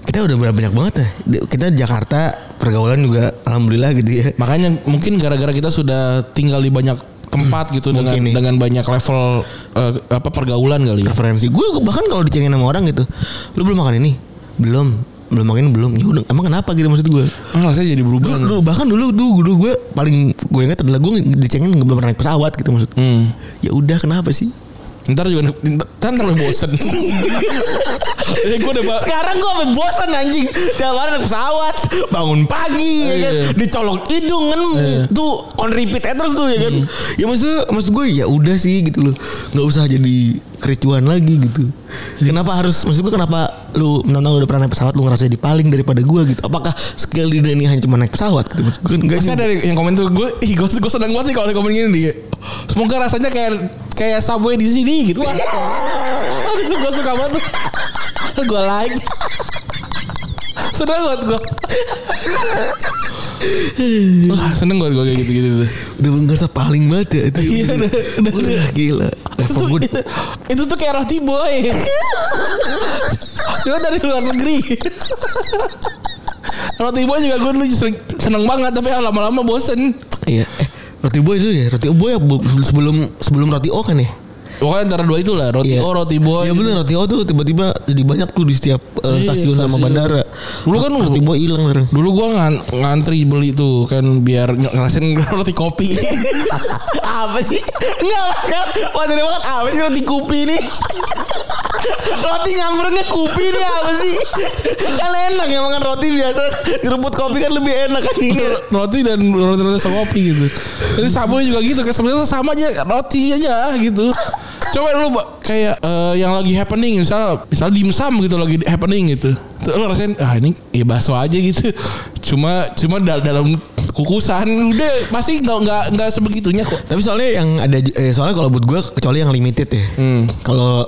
Kita udah berapa banyak banget ya. Di- Kita Jakarta pergaulan juga alhamdulillah gitu ya.
makanya mungkin gara-gara kita sudah tinggal di banyak tempat gitu dengan
Mungkin nih.
dengan banyak level eh, apa pergaulan kali ya
referensi gue gue bahkan kalau dicengin sama orang gitu lu belum makan ini belum belum makan ini belum ya udah emang kenapa gitu maksud gue
Ah, rasanya jadi berubah.
dulu, dulu- bahkan dulu dulu, dulu gue paling gue ingat adalah gue dicengin belum pernah naik pesawat gitu maksud
Hmm.
ya udah kenapa sih
Ntar juga ntar ntar bosen. ya gue udah ba-
sekarang gue sampai bosan anjing tiap hari naik pesawat bangun pagi ya kan
Iya.
dicolok hidung kan tuh on repeat aja terus tuh ya kan
Hmm.
ya maksud maksud gue ya udah sih gitu loh nggak usah jadi kericuan lagi gitu kenapa harus maksud gue kenapa lu menantang lu udah pernah naik pesawat lu ngerasa jadi paling daripada gue gitu apakah skill di dunia ini hanya cuma naik pesawat gitu maksud gue kan enggak
Masih ada yang komen tuh gue ih gue gue seneng banget sih kalau ada komen gini dia. Semoga rasanya kayak kayak subway di sini gitu. Wah. Aduh, gue suka banget. gue like. Seneng banget gue. Wah, seneng banget gue kayak gitu-gitu tuh.
udah ngerasa paling banget ya itu
Iya, udah, udah.
Udah, gila level
Itu,
gue
itu, itu tuh kayak roti boy. Cuma dari luar negeri. roti boy juga gue dulu sering- seneng banget tapi lama-lama bosen.
iya eh, roti boy dulu ya roti boy ya bu- sebelum sebelum roti o kan ya
Pokoknya antara dua itulah roti
Iya.
oh roti boy.
Iya bener roti O tuh tiba-tiba jadi banyak tuh di setiap eh,
Iya,
stasiun sama
stasiun.
bandara.
Dulu kan
roti boy hilang bareng.
Dulu gua ngan- ngantri beli tuh kan biar ng- ngerasain roti kopi.
apa sih? Enggak lah sekarang maksudnya makan apa sih roti kupi ini? roti ngamrengnya kupi ini apa sih? Kan enak ya makan roti biasa direbut kopi kan lebih enak kan ini.
roti dan roti roti sama kopi gitu. Jadi sabun juga gitu kan sebenarnya sama aja roti aja gitu. Coba lu Mbak, kayak eh, yang lagi happening misalnya misalnya dimsum gitu lagi happening gitu. Tuh, lu rasain ah ini ya bakso aja gitu. Cuma cuma dal- dalam kukusan udah pasti nggak nggak nggak sebegitunya kok.
Tapi soalnya yang ada ju- eh, soalnya kalau buat gue kecuali yang limited ya. Kalau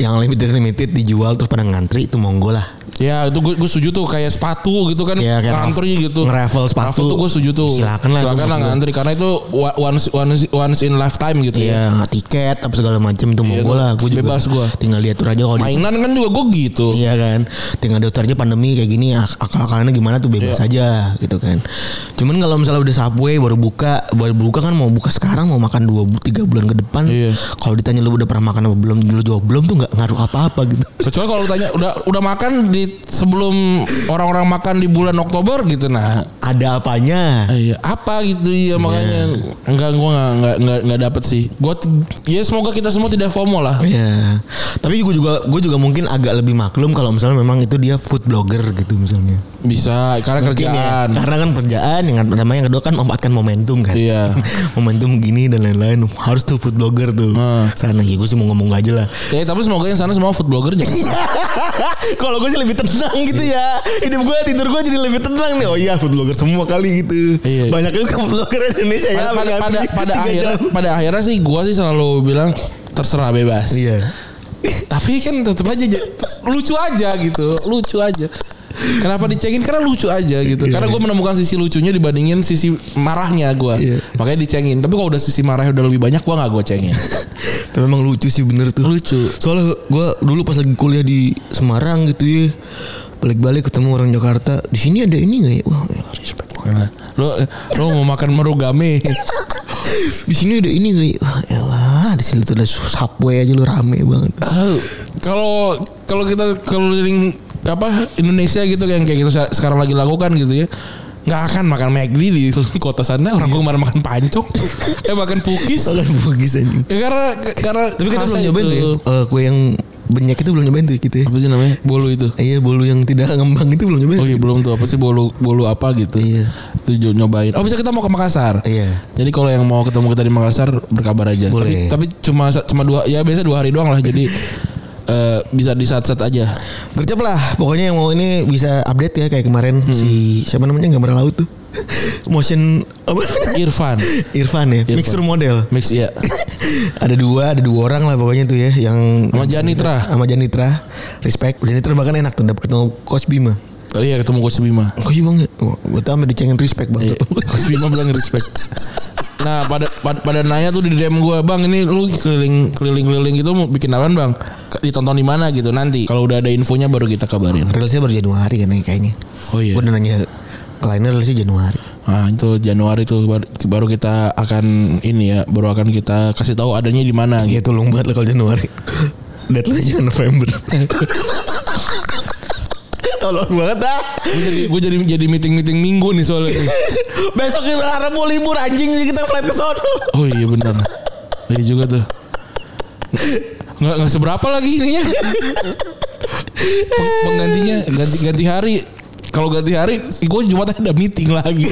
yang limited limited dijual terus pada ngantri itu monggo lah.
Ya itu gue, gue setuju tuh kayak sepatu gitu kan
Iya, kayak
ngantri
raf-
gitu.
nge-raffle sepatu.
Raffle tuh gue setuju tuh.
Silakan
Silakan
lah, itu
lah
maksud gue.
ngantri karena itu wa- once once once in lifetime gitu ya.
Iya tiket apa segala macam tuh monggo
tuh.
lah. Gue juga
Bebas gua.
Tinggal diatur aja kalau di
Mainan kan juga gue gitu.
Iya kan. Tinggal daftar aja pandemi kayak gini ak- akal-akalannya gimana tuh bebas
Iya.
aja gitu kan. Cuman kalau misalnya udah Subway baru buka, baru buka kan mau buka sekarang mau makan 2 3 bulan ke depan.
Iya.
Kalau ditanya lu udah pernah makan apa belum, lu jawab belum tuh nggak nggak ngaruh apa-apa gitu.
Kecuali kalau lu tanya udah udah makan di sebelum orang-orang makan di bulan Oktober gitu nah.
Ada apanya?
Ah, Iya, apa gitu iya makanya enggak gua enggak enggak enggak, enggak dapet sih. Gua t- ya semoga kita semua tidak FOMO lah.
Ya, tapi gue juga gue juga mungkin agak lebih maklum kalau misalnya memang itu dia food blogger gitu misalnya.
Bisa karena
Mungkin ya,
kerjaan.
Karena kan kerjaan yang pertama yang kedua kan memanfaatkan momentum kan.
Iya.
momentum gini dan lain-lain harus tuh food blogger tuh.
Hmm.
Sana ya gue sih mau ngomong aja lah.
Ya, tapi semoga yang sana semua food blogger juga.
kalau gue sih lebih tenang gitu ya. Hidup gue tidur gue jadi lebih tenang nih. Oh iya food blogger semua kali gitu.
Iya.
Banyak juga food blogger Indonesia
pada
ya.
pada pada,
mengabdi
pada
tiga
akhirnya
jam.
pada akhirnya sih gua sih selalu bilang terserah bebas.
Iya.
Tapi kan tetap aja j- lucu aja gitu, lucu aja. Kenapa dicengin? Karena lucu aja gitu. Karena gue menemukan sisi lucunya dibandingin sisi marahnya gua
Iya.
Makanya dicengin. Tapi kalau udah sisi marahnya udah lebih banyak, gua nggak gue cengin.
Tapi Memang lucu sih bener tuh.
Lucu.
Soalnya gue dulu pas lagi kuliah di Semarang gitu ya. Balik-balik ketemu orang Jakarta. Di sini ada ini gak ya? Wah respect banget.
lo lo mau makan merugame
Di sini ada ini gak ya? Wah elah. Di sini tuh ada subway aja lu rame banget.
kalau kalau kita keliling apa Indonesia gitu yang kayak kita se- sekarang lagi lakukan gitu ya nggak akan makan McD di kota sana
Iya.
orang gue kemarin makan pancong eh makan pukis
Soalnya bugis aja.
ya karena karena
Tapi kita
rasa
belum nyobain tuh ya. Eh, kue yang banyak itu belum nyobain tuh gitu ya.
apa sih namanya bolu itu
Iya bolu yang tidak ngembang itu belum nyobain.
oh iya belum tuh apa sih bolu bolu apa gitu
Iya.
itu jo- nyobain oh bisa kita mau ke Makassar
Iya.
Jadi kalau yang mau ketemu kita di Makassar berkabar aja.
Boleh.
Tapi, tapi cuma cuma dua ya biasa dua hari doang lah. Jadi eh, bisa di saat-saat aja.
Gercep lah. Pokoknya yang mau ini bisa update ya kayak kemarin
Hmm.
si siapa namanya gambar laut tuh. Motion apa?
Irfan,
Irfan ya.
Irfan.
Mixer model.
mix ya.
ada dua, ada dua orang lah pokoknya tuh ya yang
Sama Janitra.
sama Janitra. Respect. Janitra bahkan enak tuh dapat ketemu Coach Bima.
Oh iya ketemu Coach Bima.
Coach Bima gue tambah dicengin respect banget.
Coach Bima bilang respect. Nah pada pada, pada nanya tuh di DM gue bang ini lu keliling keliling keliling gitu mau bikin apaan bang? Ditonton di mana gitu nanti. Kalau udah ada infonya baru kita kabarin.
Rilisnya baru Januari kan kayaknya.
Oh iya.
Gue nanya kliennya rilisnya Januari.
Nah itu Januari tuh baru, baru kita akan ini ya baru akan kita kasih tahu adanya di mana gitu.
Iya tuh long banget lah kalau Januari. Deadline-nya November. Tolong banget ah.
gue jadi jadi meeting meeting minggu nih soalnya
Besok kita harap mau libur anjing jadi kita flight ke sono.
oh iya benar iya juga tuh nggak nggak seberapa lagi ininya Peng- penggantinya ganti ganti hari kalau ganti hari gue jumat ada meeting lagi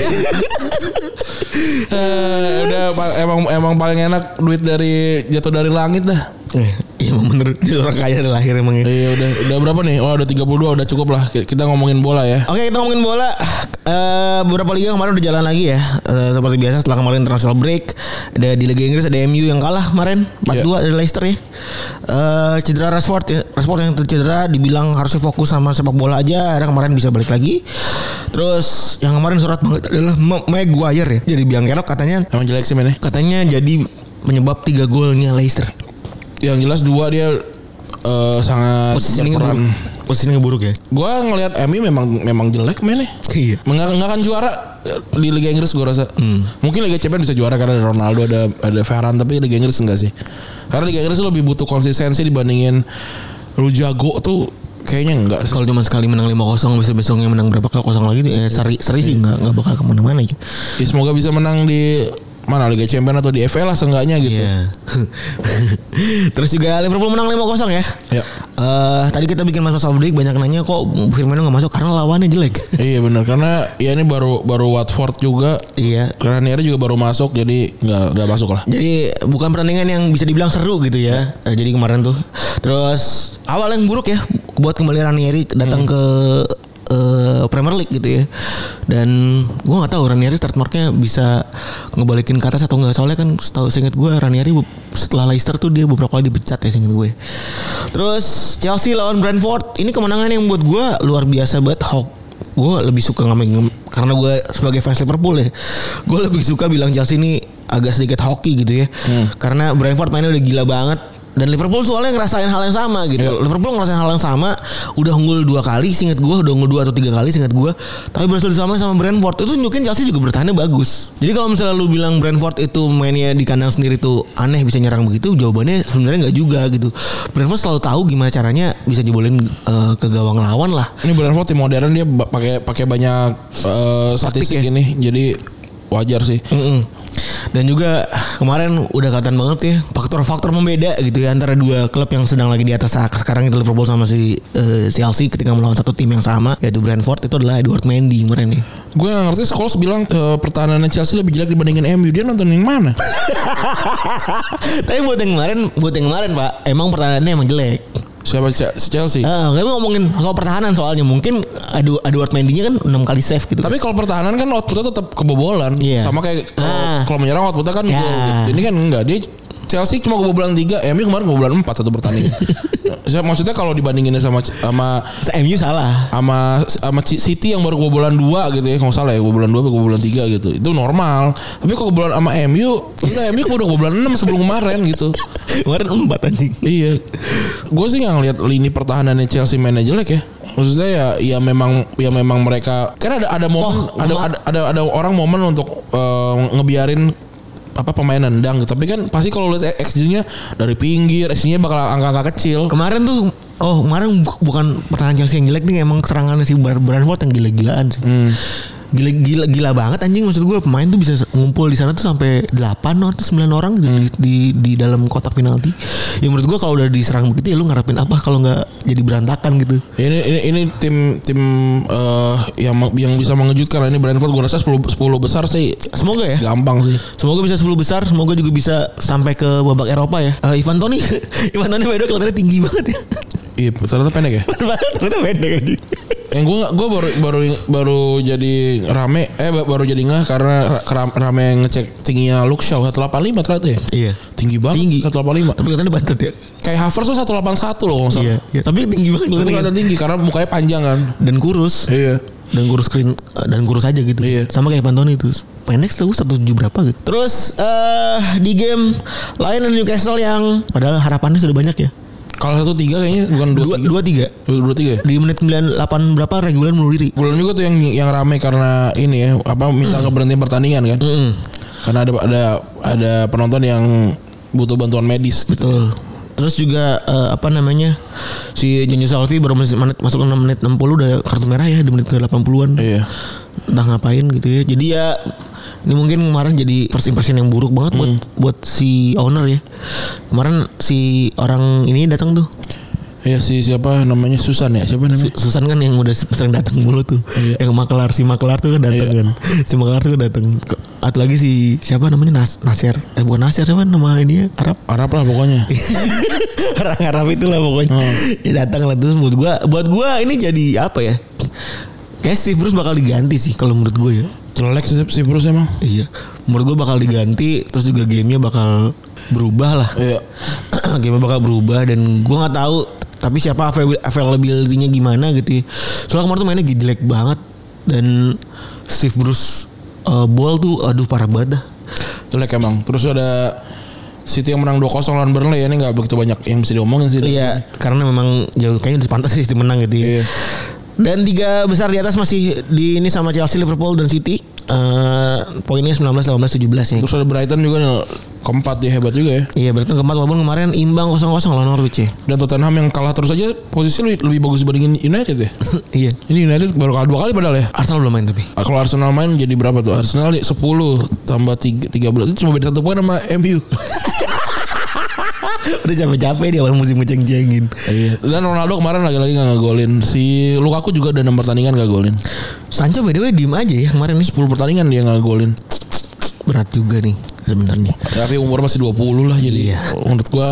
Eh, udah pa- emang emang paling enak duit dari jatuh dari langit dah
Eh, iya emang bener jadi orang kaya dari lahir emang. ya.
iya udah udah berapa nih oh udah 32 udah cukup lah Ki- kita ngomongin bola ya
Oke kita ngomongin bola Eh, Beberapa liga kemarin udah jalan lagi ya Eh, Seperti biasa setelah kemarin international break ada Di Liga Inggris ada MU yang kalah kemarin 4-2 dari Leicester ya Eh, Cedera Rashford ya. Rashford yang cedera dibilang harusnya fokus sama sepak bola aja Akhirnya kemarin bisa balik lagi Terus yang kemarin surat banget adalah Ma- Maguire ya Jadi biang kerok katanya
emang jelek sih ya? mainnya
Katanya jadi penyebab 3 golnya Leicester
yang jelas dua dia eh, sangat
Posisinya
berperan.
buruk Posisinya buruk ya
Gua ngelihat MU memang memang jelek ya? mainnya.
Iya
Enggak enggak akan juara di Liga Inggris gua rasa. Mungkin Liga Champions bisa juara karena ada Ronaldo ada ada Ferran tapi Liga Inggris enggak sih. Karena Liga Inggris lebih butuh konsistensi dibandingin lu jago tuh kayaknya enggak sih.
Kalau cuma sekali menang 5-0 bisa besoknya menang berapa kali kosong lagi tuh, eh, seri, seri sih nggak nggak bakal kemana-mana ya.
Ya, semoga bisa menang di mana Liga Champions atau di FA lah seenggaknya
Iya.
gitu.
Terus juga Liverpool menang 5-0 ya.
Ya.
Eh, tadi kita bikin Mas Mas Off-Break, banyak nanya kok Firmino nggak masuk karena lawannya jelek.
iya benar karena ya ini baru baru Watford juga
iya.
karena Ranieri juga baru masuk jadi nggak nggak masuk lah.
Jadi bukan pertandingan yang bisa dibilang seru gitu ya. Eh, jadi kemarin tuh. Terus awal yang buruk ya buat kembali Ranieri datang ke eh, Premier League gitu ya. Dan gua nggak tahu Ranieri start marknya bisa ngebalikin ke atas atau enggak soalnya kan setahu seingat gua Ranieri be- setelah Leicester tuh dia beberapa kali dipecat ya seingat gue. Terus Chelsea lawan Brentford ini kemenangan yang buat gua luar biasa banget Hawk gue lebih suka ngamen karena gue sebagai fans Liverpool ya gue lebih suka bilang Chelsea ini agak sedikit hoki gitu ya karena Brentford mainnya udah gila banget Dan Liverpool soalnya ngerasain hal yang sama gitu. Liverpool ngerasain hal yang sama, udah unggul dua kali, singkat gue, udah unggul dua atau tiga kali, singkat gue. Tapi berhasil sama sama Brentford itu nunjukin Chelsea juga bertahannya bagus. Jadi kalau misalnya lu bilang Brentford itu mainnya di kandang sendiri tuh aneh bisa nyerang begitu, jawabannya sebenarnya nggak juga gitu. Brentford selalu tahu gimana caranya bisa jebolin eh, ke gawang lawan lah.
Ini Brentford tim modern dia ba- pakai pakai banyak eh, statistik
ya.
ini. Jadi wajar sih.
Mm-mm. Dan juga kemarin udah kelihatan banget ya faktor-faktor membeda gitu ya antara dua klub yang sedang lagi di atas saat sekarang itu Liverpool sama si eh, Chelsea ketika melawan satu tim yang sama yaitu Brentford itu adalah Edward Mendy kemarin nih.
Gue gak ngerti Scholes bilang eh, pertahanannya Chelsea lebih jelek dibandingin MU. Dia nonton yang mana?
Tapi buat yang kemarin, buat yang kemarin Pak, emang pertahanannya emang jelek.
Siapa Ce- Chelsea?
Eh, tapi ngomongin soal pertahanan soalnya mungkin Adu Edward Mendy-nya kan 6 kali save gitu.
Tapi kalau pertahanan kan outputnya tetap kebobolan.
Iya.
Sama kayak kalau
Ah.
kalau menyerang outputnya kan
Ya.
gol. gitu. Ini kan enggak. Dia Chelsea cuma kebobolan 3, MU kemarin kebobolan 4 satu pertandingan. Saya- Maksudnya kalau dibandinginnya sama sama
MU salah.
sama sama C- City yang baru kebobolan 2 gitu ya kalau nggak salah ya kebobolan 2 kebobolan 3 gitu. Itu normal. Tapi kalau kebobolan sama MU, enggak MU udah kebobolan 6 sebelum kemarin gitu.
Kemarin 4 anjing.
Iya, gue sih nggak ngeliat lini pertahanannya Chelsea mainnya jelek ya. Maksudnya ya, ya memang, ya memang mereka kan ada ada momen,
Oh,
ada,
ma-
ada ada ada orang momen untuk eh, ngebiarin apa pemain nendang gitu. Tapi kan pasti kalau lihat XG-nya dari pinggir, XG-nya bakal angka-angka kecil.
Kemarin tuh Oh kemarin bu- bukan pertahanan Chelsea yang jelek nih Emang serangannya si Bar- Brentford yang gila-gilaan sih Gila, gila gila banget anjing maksud gue pemain tuh bisa ngumpul di sana tuh sampai 8 atau 9 orang gitu di, di, di dalam kotak penalti. Ya menurut gue kalau udah diserang begitu ya lu ngarepin apa kalau nggak jadi berantakan gitu.
Ini ini, ini tim tim eh, yang yang bisa mengejutkan lah. ini Brentford gue rasa 10 10 besar sih Eh,
Semoga ya.
gampang sih.
Semoga bisa 10 besar, semoga juga bisa sampai ke babak Eropa ya. Eh, Ivan Toni, Ivan Toni by the way kelihatannya tinggi banget ya.
Iya, ternyata pendek ya.
Ternyata pendek anjing.
yang gue gue baru baru baru jadi rame eh ba- baru jadi ngeh karena ra- rame ngecek tingginya Luke Shaw 185 ternyata ya
Iya.
tinggi banget
Tinggi.
185
Tapi kelihatannya bantet ya.
kayak Havertz tuh 181 loh nggak salah
Iya, iya. tapi tinggi
Tapi
banget kelihatannya.
kelihatan tinggi karena mukanya panjang kan
dan kurus
iya
Eh, dan kurus kering dan kurus aja gitu
Iya.
sama kayak Pantone itu pendek setahu satu tujuh berapa gitu terus eh di game lain ada Newcastle yang padahal harapannya sudah banyak ya
kalau satu tiga kayaknya bukan dua tiga
dua dua tiga
dua, dua tiga ya
di menit 98 berapa regulan bunuh diri
belum juga tuh yang yang rame karena ini ya apa minta keberhentian pertandingan kan
Hmm.
karena ada ada ada penonton yang butuh bantuan medis gitu.
betul terus juga eh, apa namanya si Jonny Salvi baru masuk menit masuk 6 menit 60 udah kartu merah ya di menit ke 80-an
iya
entah ngapain gitu ya jadi ya ini mungkin kemarin jadi first impression yang buruk banget buat
Hmm.
buat si owner ya kemarin si orang ini datang tuh
Iya si siapa namanya Susan ya siapa namanya
Su- Susan kan yang udah sering datang mulu tuh
Iya.
yang makelar si makelar tuh kan datang
Iya.
kan si makelar tuh datang Ke- atau lagi si siapa namanya Nas Nasir eh bukan Nasir siapa nama ini ya? Arab
Arab lah pokoknya
orang Arab itulah pokoknya
Hmm.
ya datang lah terus buat gua buat gua ini jadi apa ya kayak Steve Bruce bakal diganti sih kalau menurut gua ya
Jelek sih si Bruce emang.
Iya, menurut gue bakal diganti, terus juga gamenya bakal berubah lah.
Iya.
gamenya bakal berubah dan gue nggak tahu, tapi siapa avail- availability-nya gimana gitu. ya. Soalnya kemarin tuh mainnya jelek banget dan Steve Bruce eh, ball tuh, aduh parah banget dah.
Jelek emang. Terus ada City yang menang 2-0 lawan Burnley ya ini nggak begitu banyak yang bisa diomongin sih.
Iya, karena memang jauh kayaknya udah pantas sih City menang gitu. ya.
Iya.
Dan tiga besar di atas masih di ini sama Chelsea, Liverpool dan City. Eh, poinnya 19, 18, 17 ya.
Terus ada Brighton juga nih keempat dia hebat juga ya.
Iya, berarti keempat walaupun kemarin imbang 0-0 lawan Norwich ya.
Dan Tottenham yang kalah terus aja posisinya lebih, lebih bagus dibandingin United ya.
iya.
Ini United baru kalah dua kali padahal ya.
Arsenal belum main tapi.
Ah, Kalau Arsenal main jadi berapa tuh? Arsenal 10 tambah 3, 13 itu cuma beda satu poin sama MU.
Udah capek-capek di awal musim ngeceng-cengin.
Iya. Dan Ronaldo kemarin lagi-lagi nggak ngegolin. Si Lukaku juga ada 6 pertandingan nggak golin.
Sancho by the way diem aja ya kemarin nih
10 pertandingan dia nggak golin.
berat juga nih sebenarnya.
Tapi umur masih 20 lah jadi
Iya.
menurut gua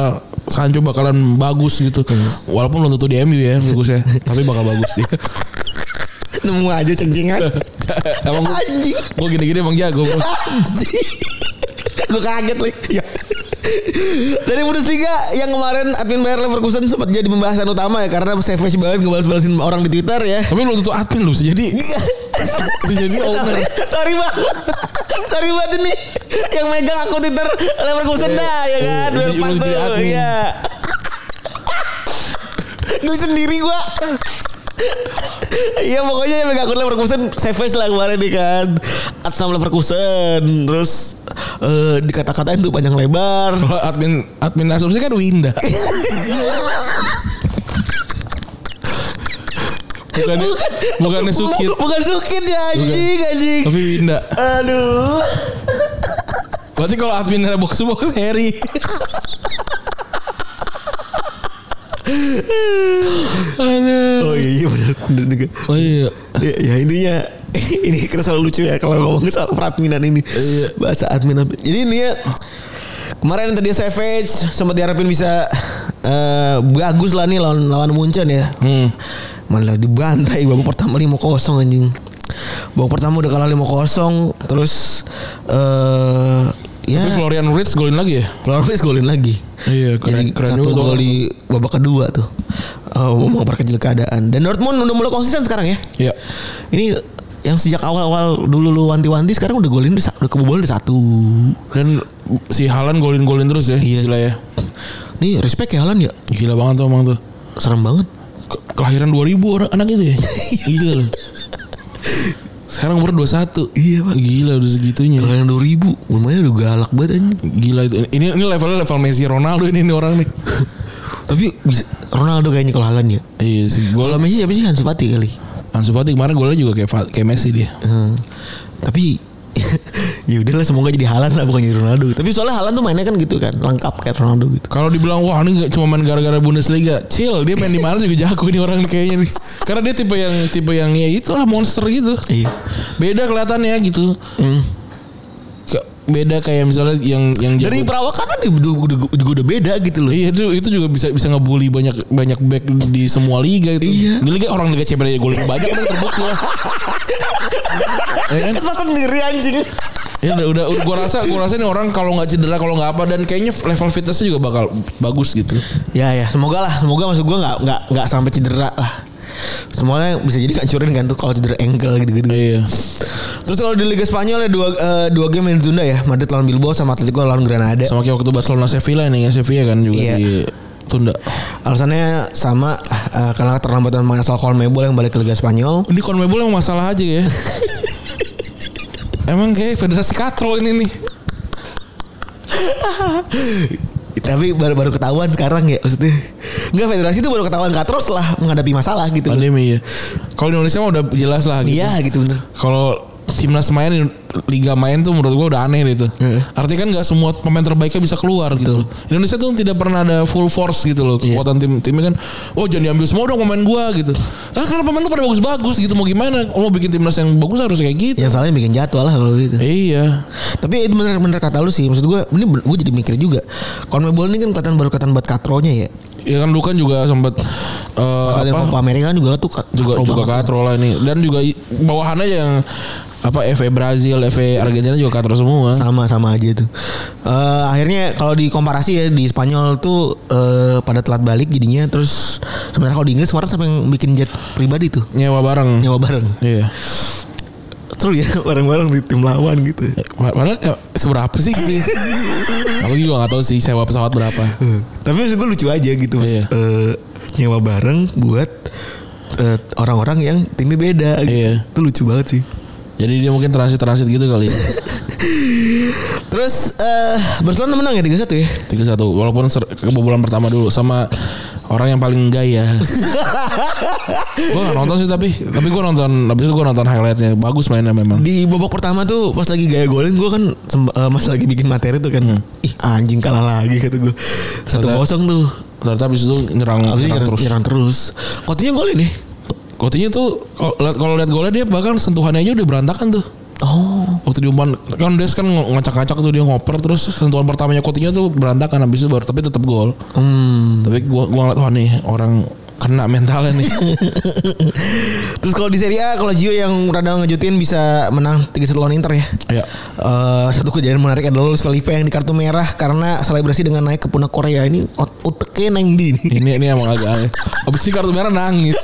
Sancho bakalan bagus gitu.
Iya.
Walaupun belum tentu di MU ya bagusnya, tapi bakal bagus dia.
Nemu aja cengcengan.
emang gua,
Anjing.
gua gini-gini emang jago. Bro.
Anjing. Gue kaget lagi. Ya. Dari Bundesliga yang kemarin admin Bayer Leverkusen sempat jadi pembahasan utama ya karena savage banget ngebalas-balasin orang di Twitter ya.
Tapi belum tentu admin lu bisa jadi bisa jadi owner.
Sorry, sorry banget. sorry banget ini yang megang akun Twitter Leverkusen
Iya.
dah ya kan.
Iya,
Biar
iya,
pas
iya,
tuh.
iya.
Iya. Geli sendiri gua. Iya pokoknya yang megang akun Leverkusen Savage lah kemarin nih kan Atas nama Leverkusen Terus eh, dikata-katain tuh panjang lebar
Kalau admin admin asumsi kan Winda. bukannya bukannya Sukit,
Bu- Bukan sukit ya anjing anjing
tapi Winda.
Aduh
Berarti kalau admin ada box to box Harry. Aduh.
Oh iya bener, bener juga.
Oh iya.
ya, ya intinya ini karena selalu lucu ya kalau ngomong soal peradminan ini
Iya.
bahasa admin admin. jadi ini ya kemarin tadi Savage sempat diharapin bisa eh, bagus lah nih lawan lawan Munchen ya
Hmm.
malah dibantai babak pertama 5-0 anjing babak pertama udah kalah 5-0 terus eh ya
Tapi Florian Ritz golin lagi ya?
Flores golin lagi.
Iya, keren-
Jadi
keren juga
satu
tuh.
gol di babak kedua tuh. Eh, mau memperkecil keadaan. Dan Dortmund udah mulai konsisten sekarang ya.
Iya.
Ini yang sejak awal-awal dulu lu wanti-wanti sekarang udah golin udah sa- udah kebobolan udah satu.
Dan si Halan golin-golin terus ya. Iya. Gila ya.
Nih respect ya Haaland ya.
Gila banget tuh emang tuh.
Serem banget.
Ke- Kelahiran 2000 orang anak itu ya. Gila loh. Sekarang umur 21.
Iya, Pak.
Gila udah segitunya.
Kalian 2000, lumayan udah galak banget anjing.
Gila itu. Ini ini levelnya level Messi Ronaldo ini nih orang nih.
Tapi bisa, Ronaldo kayaknya kalau Haaland ya.
Iya sih. Gol
Kalau Messi siapa sih Hansu Fati kali.
Ansu Fati kemarin golnya juga kayak Fa- kayak Messi dia.
Eh, tapi ya udahlah semoga jadi Haaland lah bukan jadi Ronaldo. Tapi soalnya Haaland tuh mainnya kan gitu kan, lengkap kayak Ronaldo gitu.
Kalau dibilang wah ini nggak cuma main gara-gara Bundesliga, chill dia main di mana juga jago nih orang nih kayaknya nih. Karena dia tipe yang tipe yang ya itulah monster gitu.
Iya.
Beda kelihatannya gitu.
Hmm.
Ke- Beda kayak misalnya yang yang jago-
Dari perawakan kan juga udah, juga udah beda gitu loh.
Ya Iya itu itu juga bisa bisa ngebully banyak banyak back di semua liga itu.
Iya.
Di liga orang liga Champions aja golin banyak kan terbukti lah. Ya kan?
Kesel sendiri anjing.
Ya udah udah gua rasa gua rasa nih orang kalau nggak cedera kalau nggak apa dan kayaknya level fitnessnya juga bakal bagus gitu.
Ya ya, semoga lah, semoga maksud gua nggak nggak nggak sampai cedera lah. Semuanya bisa jadi hancurin kan tuh kalau cedera ankle gitu-gitu.
Iya.
Terus kalau di Liga Spanyol ya dua eh, dua game yang ditunda ya, Madrid lawan Bilbao sama Atletico lawan Granada.
Sama kayak waktu Barcelona Sevilla nih ya Sevilla kan juga
Iya.
ditunda.
Alasannya sama eh, karena keterlambatan mengasal Colmebol yang balik ke Liga Spanyol.
Ini CONMEBOL emang masalah aja ya. emang kayak federasi katro ini nih.
Tapi baru baru ketahuan sekarang ya maksudnya. Enggak federasi itu baru ketahuan katros lah menghadapi masalah gitu.
Pandemi ya. Kalau di Indonesia mah udah jelas lah gitu.
Iya gitu bener.
Kalau timnas main liga main tuh menurut gua udah aneh deh itu.
Heeh.
Artinya kan nggak semua pemain terbaiknya bisa keluar gitu.
Iya. Betul. Iya.
Indonesia tuh tidak pernah ada full force gitu loh kekuatan tim timnya kan. Oh jangan diambil semua dong pemain gua gitu. Nah, karena pemain tuh pada bagus-bagus gitu mau gimana? Oh, mau bikin timnas yang bagus harus kayak gitu.
Yang salahnya bikin jadwal lah kalau gitu.
Iya.
Tapi itu bener-bener kata lu sih. Maksud gue, ini gue jadi mikir juga. Conmebol ini kan kelihatan baru kelihatan buat katronya ya.
Ya kan lu kan juga sempat
Kalau
apa
Copa Amerika kan juga kan. tuh kat-
juga
katro
juga
banget.
katro lah ini dan juga i- bawahannya yang apa FA Brazil, FA Argentina juga katro semua.
sama sama aja tuh. Eh, akhirnya kalau dikomparasi ya di Spanyol tuh eh, pada telat balik jadinya terus sebenarnya kalau di Inggris kemarin sampai yang bikin jet pribadi tuh
Nyewa bareng.
nyawa bareng.
Iya.
Seru ya bareng-bareng di tim lawan gitu.
Pa- Padahal eh, seberapa sih? gitu? Aku juga gak tahu sih sewa pesawat berapa.
Eh, Tapi maksud gue lucu aja gitu.
Iya.
Eh, nyewa bareng buat eh, orang-orang yang timnya beda gitu.
Iya.
Itu lucu banget sih.
Jadi dia mungkin transit-transit gitu kali ya.
Terus eh Barcelona menang ya 3-1 ya.
3-1 walaupun ser- kebobolan pertama dulu sama orang yang paling gaya. gue gak nonton sih tapi tapi gue nonton habis itu gue nonton highlightnya bagus mainnya memang.
Di babak pertama tuh pas lagi gaya golin gue kan semp- eh, mas lagi bikin materi tuh kan.
Hmm.
Ih anjing kalah lagi kata gue. Satu kosong tuh.
Ternyata habis itu Nah, nyerang,
Abis itu
nyerang
nyerang,
terus.
nyerang terus. Coutinho golin ya.
Coutinho tuh kalau liat- kalau lihat golnya dia bahkan sentuhannya aja udah berantakan tuh.
Oh.
Waktu diumpan kan Des kan ngo- ngacak-ngacak tuh dia ngoper terus sentuhan pertamanya Coutinho tuh berantakan habis itu baru tapi tetap gol.
Hmm.
Tapi gua gua ngeliat wah nih orang kena mentalnya nih.
Terus kalau di Serie A kalau Gio yang rada ngejutin bisa menang 3-1 lawan Inter ya.
ya.
Eh, satu kejadian menarik adalah Luis Felipe yang di kartu merah karena selebrasi dengan naik ke pundak Korea ini ut- uteknya neng di ini.
Ini ini emang agak aneh. Habis ini kartu merah nangis.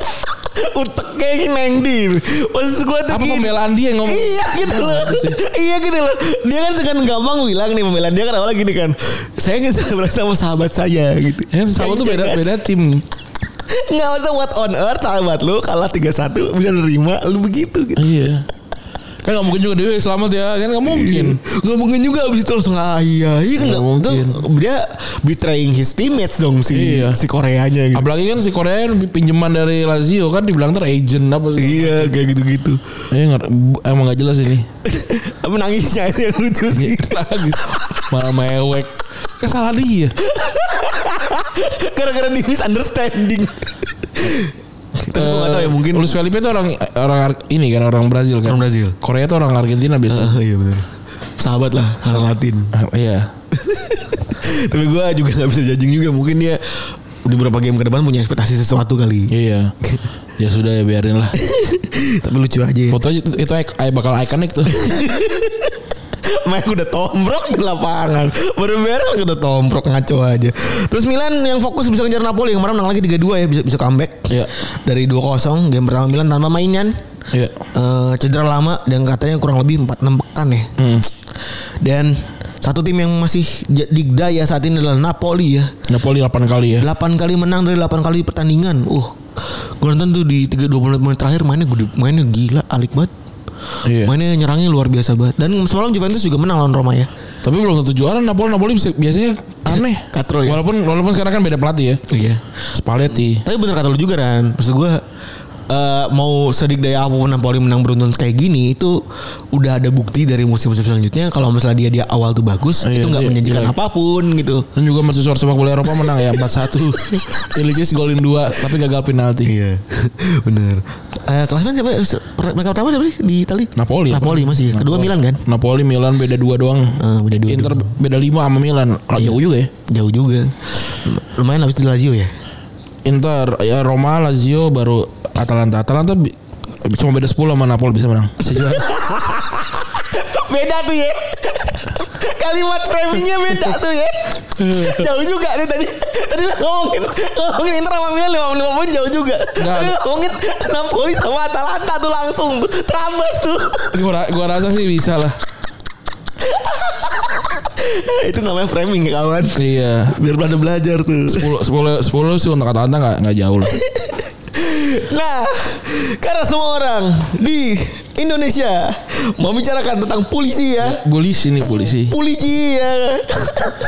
uteknya neng di. Maksud gue tuh
Apa
gini.
pembelaan dia yang ngomong?
Iya gitu loh. iya gitu loh. Dia kan dengan gampang bilang nih pembelaan dia kan
Eh,
awalnya gini kan. Saya nggak bisa bersama sahabat saya gitu.
Ya, sama tuh beda beda tim.
Nggak maksudnya what on earth sahabat lu kalah 3-1 bisa nerima lu begitu gitu.
Iya. Kan nggak mungkin juga dia "Eh, selamat ya, kan nggak mungkin.
Nggak mungkin juga abis itu langsung ah iya iya kan
Nggak
nggak- tuh,
mungkin.
dia betraying his teammates dong si
Iya.
si Koreanya gitu.
Apalagi kan si Korea kan pinjaman dari Lazio kan dibilang ter agent apa sih?
Iya kayak gitu-gitu.
Eh, nggak- emang nggak jelas ini.
Apa nangisnya itu yang lucu sih.
Nangis. gitu. Malah mewek. Kesalahan dia.
Gara-gara di misunderstanding. Tapi gue gak tau ya mungkin
Eh, Luis Felipe itu orang orang Ar- ini kan orang Brazil kan.
Orang Brazil.
Korea itu orang Argentina biasanya.
Ah, iya benar. Sahabat lah orang Latin.
Ah, Iya.
Tapi gue juga nggak bisa judging juga. Mungkin dia di beberapa game ke depan punya ekspektasi sesuatu kali.
Iya. Ya sudah ya biarin lah.
Tapi lucu aja. ya.
Foto aja itu, itu ik- ay- bakal ikonik tuh.
Main udah tombrok di lapangan. Baru-baru udah tombrok ngaco aja. Terus Milan yang fokus bisa ngejar Napoli yang kemarin menang lagi 3-2 ya bisa bisa comeback.
Iya.
Dari 2-0 game pertama Milan tanpa mainan.
Iya.
Eh, cedera lama dan katanya kurang lebih 4-6 pekan ya.
Hmm.
Dan satu tim yang masih j- digdaya saat ini adalah Napoli ya.
Napoli 8 kali ya.
8 kali menang dari 8 kali pertandingan. Uh. Gue nonton tuh di 3 20 menit terakhir mainnya gede, mainnya gila alik banget.
Iya.
Mainnya nyerangnya luar biasa banget. Dan semalam Juventus juga menang lawan Roma ya.
Tapi belum tentu juara Napoli Napoli bisa- biasanya aneh.
Katro ya?
Walaupun walaupun sekarang kan beda pelatih ya.
Iya.
Spalletti.
Tapi bener kata lu juga kan. Maksud gue eh, mau sedikdaya apapun Napoli menang beruntun kayak gini itu udah ada bukti dari musim-musim selanjutnya kalau misalnya dia dia awal tuh bagus
Iya,
itu nggak
iya,
menjanjikan
iya.
apapun gitu.
Dan juga mahasiswa sepak bola Eropa menang ya 4-1. Ilicic golin 2 tapi gagal penalti.
Iya, bener. Eh klasmen siapa? Mereka pertama siapa sih di Itali?
Napoli. ya?
Napoli masih. Kedua
Napoli.
Milan kan?
Napoli Milan beda 2 doang.
Eh, udah dua. Ah, iya.
Inter beda 5 sama Milan. Lah, Jauh juga ya.
Jauh juga. Lumayan habis itu Lazio ya.
Inter ya Roma Lazio baru Atalanta. Atalanta bi- cuma beda 10 sama Napoli bisa menang. Bisa juara.
Beda tuh ya. Kalimat framingnya beda tuh ya. Jauh juga nih tadi. Tadi lah ngomongin ngomongin Inter sama Milan lima lima poin jauh juga.
Nggak.
Tapi ngomongin Napoli sama Atalanta tuh langsung tuh terabas tuh.
gua, ra- gua rasa sih bisa lah.
itu namanya framing ya kawan.
Iya.
Biar pada belajar tuh.
10 10 10 sih untuk Atalanta nggak nggak jauh lah.
Nah, karena semua orang di Indonesia membicarakan tentang polisi ya.
Polisi ini polisi.
Polisi ya.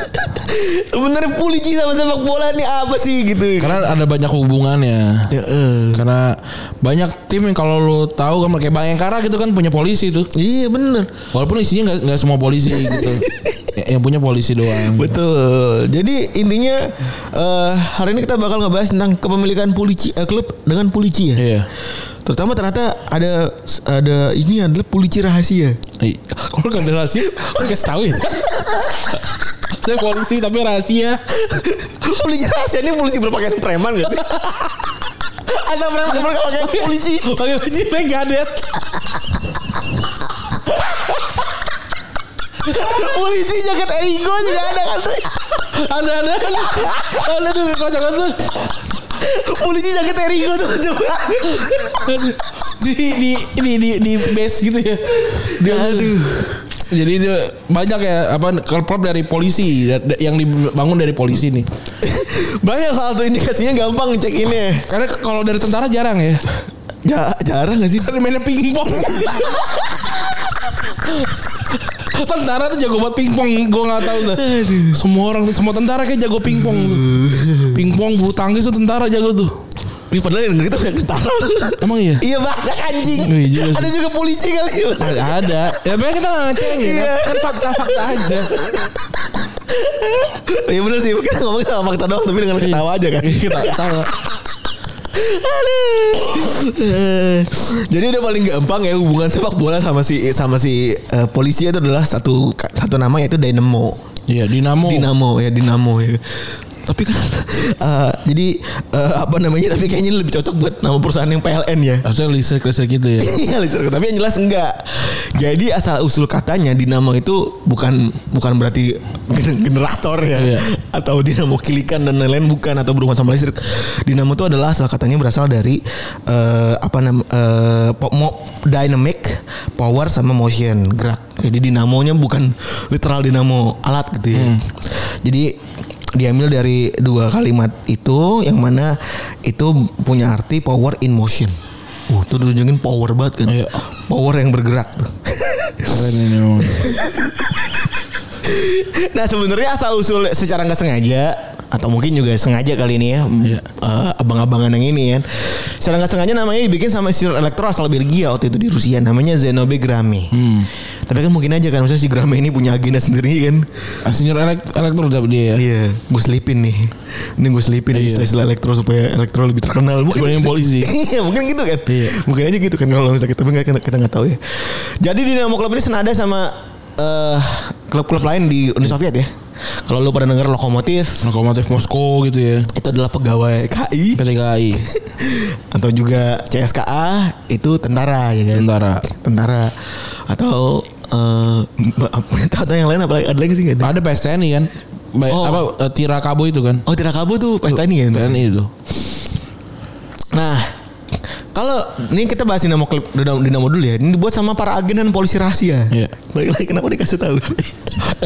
Bener polisi sama sepak bola ini apa sih gitu.
Karena ada banyak hubungannya.
Ya, eh.
Karena banyak tim yang kalau lu tahu kan kayak Bayangkara gitu kan punya polisi tuh.
Iya bener
Walaupun isinya nggak nggak semua polisi gitu. Ya, yang punya polisi doang.
Betul Jadi intinya eh, Hari ini kita bakal ngebahas tentang Kepemilikan polisi eh, klub dengan polisi ya
Iya.
Terutama ternyata ada ada ini adalah polisi rahasia.
I- Iya. Kalau nggak ada rahasia, lu kasih tahu ya. Saya polisi tapi rahasia.
polisi rahasia ini polisi berpakaian preman gak? Atau preman berpakaian polisi?
Pakai baju Megadeth.
Polisi jaket Erigo juga ada kan tuh.
Ada ada. ada. Ada tuh kocokan tuh.
Polisi jaket Erigo tuh coba.
Aduh. Di di di di di base gitu ya. Dia aduh. Jadi dia banyak ya apa klub dari polisi da- da- yang dibangun dari polisi nih.
Banyak salah satu indikasinya gampang ngecekinnya.
Karena k- kalau dari tentara jarang ya.
Iya. Ja, jarang gak sih?
Karena mainnya pingpong. tentara tuh jago buat pingpong, gue nggak tahu dah. Semua orang, semua tentara kayak jago pingpong. Pingpong bulu tangkis tuh tentara jago tuh.
Ini padahal yang gitu kayak tentara.
Emang iya?
Iya banyak anjing.
Iya juga sih.
Ada juga polisi kali.
Ada. Ya banyak kita nggak ngecengin.
Iya.
Kan fakta-fakta aja.
Iya bener sih. Kita ngomong sama fakta doang tapi dengan ketawa aja kan.
Iya, Kita tahu.
Eh, Jadi udah paling gampang ya hubungan sepak bola sama si sama si eh, polisi itu adalah satu satu nama yaitu Dynamo.
Iya, Dinamo.
Dinamo ya Dinamo ya. Tapi kan eh, jadi eh, apa namanya tapi kayaknya lebih cocok buat nama perusahaan yang PLN ya.
Harusnya listrik-listrik gitu ya.
Iya, listener. tapi yang jelas enggak. Jadi asal usul katanya dinamo itu bukan bukan berarti gen- generator ya
Iya.
atau dinamo kilikan dan lain-lain bukan atau berhubungan sama listrik. Dinamo itu adalah asal katanya berasal dari eh, apa nam eh, po- mo- dynamic power sama motion gerak. Jadi dinamonya bukan literal dinamo alat gitu ya. Jadi diambil dari dua kalimat itu yang mana itu punya arti power in motion. Uh, tuh tunjukin power banget kan.
Iya.
Power yang bergerak tuh.
Keren ini memang.
nah sebenarnya asal usul secara nggak sengaja atau mungkin juga sengaja kali ini ya
Iya.
eh, abang-abangan yang ini kan secara nggak sengaja namanya dibikin sama istirahat elektro asal Belgia waktu itu di Rusia namanya Zenobe Grame
Hmm.
tapi kan mungkin aja kan maksudnya si Grame ini punya agenda sendiri kan
Senior elek elektro dapat dia ya.
iya gue selipin nih ini gue selipin nih
Iya.
istilah elektro supaya elektro lebih terkenal mungkin
Dibanding polisi.
Iya mungkin gitu kan.
Iya.
Mungkin aja gitu kan kalau misalnya kita tapi nggak- kita kita nggak tahu ya. Jadi Dinamo Club ini senada sama eh, klub-klub lain di Uni Soviet ya. Kalau lu pada denger lokomotif
Lokomotif Nah, Moskow gitu ya.
itu adalah pegawai KI
PT KAI.
atau juga CSKA itu tentara ya kan.
Tentara.
Tentara atau eh atau yang lain apa lagi? ada lagi sih nggak ada?
Ada PSTNI kan? Ba-
Oh.
apa eh, Tirakabo itu kan?
Oh Tirakabo tuh pesta ini ya. Untuk.
TNI itu.
Nah, kalau ini kita bahas dinamo klip dinamo, dinamo dulu ya. Ini dibuat sama para agen dan polisi rahasia.
Iya.
Balik lagi kenapa dikasih tahu?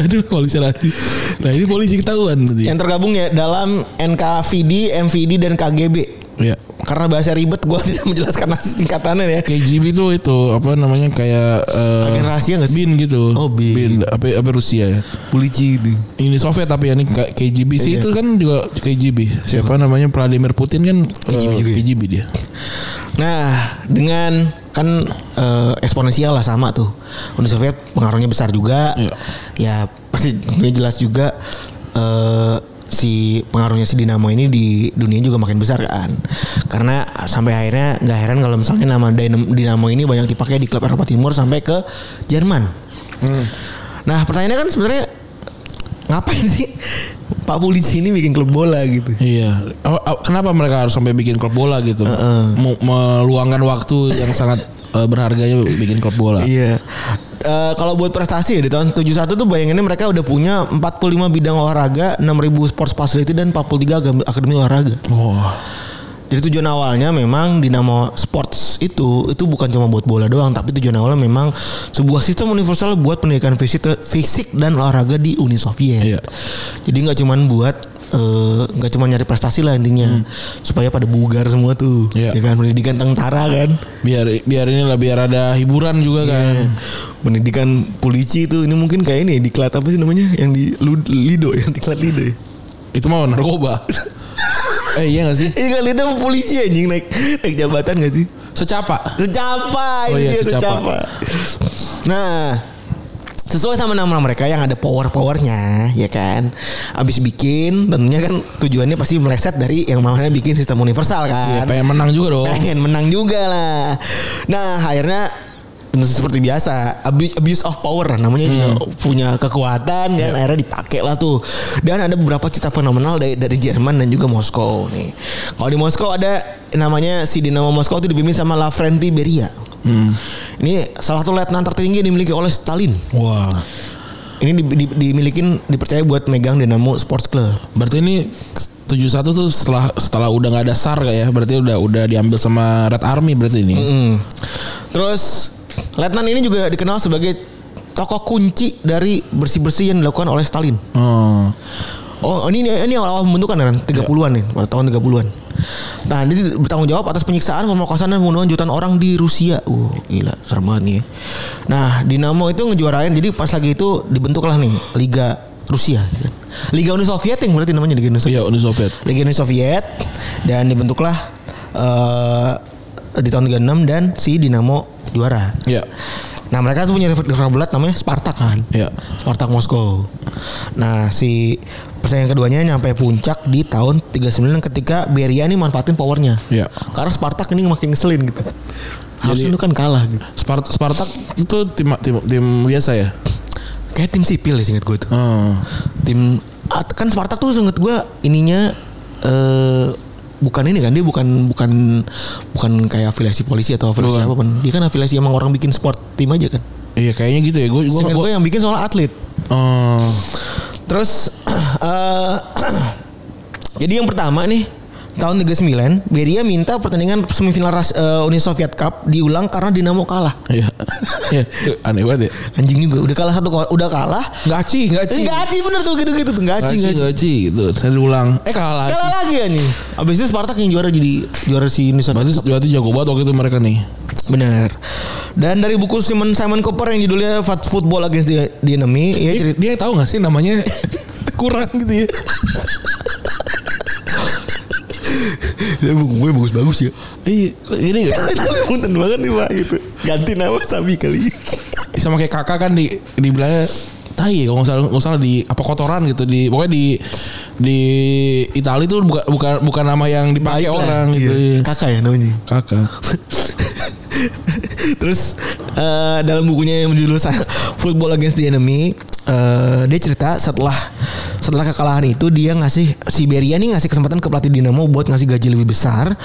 Aduh polisi nanti. Nah ini polisi ketahuan tadi.
Yang tergabung ya dalam NKVD, MVD dan KGB.
Iya.
Karena bahasa ribet gua tidak menjelaskan nasi singkatannya ya.
KGB itu itu apa namanya kayak eh,
Agen rahasia nggak sih?
Bin gitu.
Oh, bin.
Apa apa Rusia ya.
Polisi itu.
Ini Soviet tapi ya ini K- KGB sih
Iya.
itu kan juga KGB. Siapa namanya Vladimir Putin kan eh,
KGB juga ya?
KGB dia.
Nah, dengan kan eh, eksponensial lah sama tuh. Uni Soviet pengaruhnya besar juga.
Iya.
Ya pasti dunia jelas juga eh, si pengaruhnya si Dinamo ini di dunia juga makin besar kan. Karena sampai akhirnya nggak heran kalau misalnya nama Dynam- Dinamo ini banyak dipakai di klub Eropa Timur sampai ke Jerman. Nah, pertanyaannya kan sebenarnya ngapain sih Pak Polisi ini bikin klub bola gitu?
Iya. Apa- apa- Kenapa mereka harus sampai bikin klub bola gitu?
Heeh.
Mau Meluangkan waktu yang sangat eh, berharganya bikin klub bola.
Iya. Eh, kalau buat prestasi ya, di tahun 71 tuh bayanginnya mereka udah punya 45 bidang olahraga, 6000 sports facility dan 43 agam- akademi olahraga.
Wah.
Jadi tujuan awalnya memang Dinamo Sports itu itu bukan cuma buat bola doang, tapi tujuan awalnya memang sebuah sistem universal buat pendidikan fisik fisik dan olahraga di Uni Soviet.
Iya.
Jadi nggak cuman buat eh, nggak cuma nyari prestasi lah intinya, supaya pada bugar semua tuh,
Hmm. Iya.
ya kan pendidikan tentara kan.
biar biar inilah biar ada hiburan
Iya.
juga kan
pendidikan polisi itu ini mungkin kayak ini ya, diklat apa sih namanya yang di Lu- Lido yang diklat Lido ya.
itu mah narkoba eh iya gak sih
Ini diklat Lido sama polisi anjing naik naik jabatan gak sih?
secapa
Secapa
Oh
ini
iya,
dia secapa.
secapa.
Nah, sesuai sama nama mereka yang ada power powernya ya kan abis bikin tentunya kan tujuannya pasti meleset dari yang namanya bikin sistem universal
ya,
kan
pengen menang juga dong
pengen menang juga lah. Nah akhirnya tentu seperti biasa abuse, abuse of power namanya juga punya kekuatan kan akhirnya dipakai lah tuh dan ada beberapa cerita fenomenal dari dari Jerman dan juga Moskow nih kalau di Moskow ada namanya si Dinamo Moskow itu dipimpin sama Lavrenti Beria ini salah satu letnan tertinggi yang dimiliki oleh Stalin
wah
ini di, di- dimilikin dipercaya buat megang Dinamo Sports Club
berarti ini 71 tuh setelah setelah udah nggak ada sar kayak ya berarti udah udah diambil sama Red Army berarti ini
Mm. Terus Letnan ini juga dikenal sebagai tokoh kunci dari bersih-bersih yang dilakukan oleh Stalin.
oh
Oh, ini ini awal-awal pembentukan kan 30-an nih, pada tahun 30-an. Nah, dia bertanggung jawab atas penyiksaan, pemerkosaan dan pembunuhan jutaan orang di Rusia. Uh, gila, serem banget nih. ya. Nah, Dinamo itu ngejuarain jadi pas lagi itu dibentuklah nih Liga Rusia. gitu kan. Liga Uni Soviet yang berarti namanya Liga Uni Soviet.
iya Uni Soviet
Liga Uni Soviet dan dibentuklah eh, di tahun 36 dan si Dinamo juara.
iya
Nah mereka tuh punya rival berat namanya Spartak kan.
iya
Spartak Moskow. Nah si persaingan keduanya nyampe puncak di tahun 39 ketika Beria ini manfaatin powernya.
Iya.
Karena Spartak ini makin ngeselin gitu. Harusnya lu kan kalah gitu.
Spart- Spartak itu tim tim tim biasa ya
Kayak tim sipil ya singkat gue tuh.
oh
tim ah, kan Spartak tuh seinget gue ininya eh bukan ini kan dia bukan bukan bukan kayak afiliasi polisi atau
Bukan.
afiliasi apa pun dia kan afiliasi emang orang bikin sport tim aja kan
iya kayaknya gitu ya gue
seinget
gue
gue yang bikin soal atlet
oh
terus eh jadi yang pertama nih tahun 39 Beria minta pertandingan semifinal Ras- eh, Uni Soviet Cup diulang karena Dinamo kalah.
Iya. Iya, aneh banget ya.
Anjing juga udah kalah satu ko- udah kalah.
Gaci, gaci.
Ini gaci bener tuh gitu-gitu tuh gaci
Gaci,
gaci.
gaci gitu. Saya diulang. Eh kalah lagi.
Kalah lagi anjing. Abis itu Spartak yang juara jadi juara si Uni Soviet
Berarti berarti jago banget waktu itu mereka nih.
Bener. Dan dari buku Simon Simon Cooper yang judulnya Fat Football Against the, the Enemy, ya
Dia,
cerita
dia tahu gak sih namanya kurang gitu ya.
buku gue bagus-bagus ya.
Iya, ini gak?
Punten banget nih Pak gitu. Ganti nama Sabi kali.
sama kayak kakak kan di di belakang tai ya, kalau nggak salah nggak salah di apa kotoran gitu di pokoknya di di Italia tuh bukan bukan bukan nama yang dipakai orang gitu. iya.
Kakak ya namanya.
Kakak.
Terus eh, dalam bukunya yang berjudul Sa- Football Against the Enemy, eh, dia cerita setelah setelah kekalahan itu dia ngasih Siberia nih ngasih kesempatan ke pelatih Dinamo buat ngasih gaji lebih besar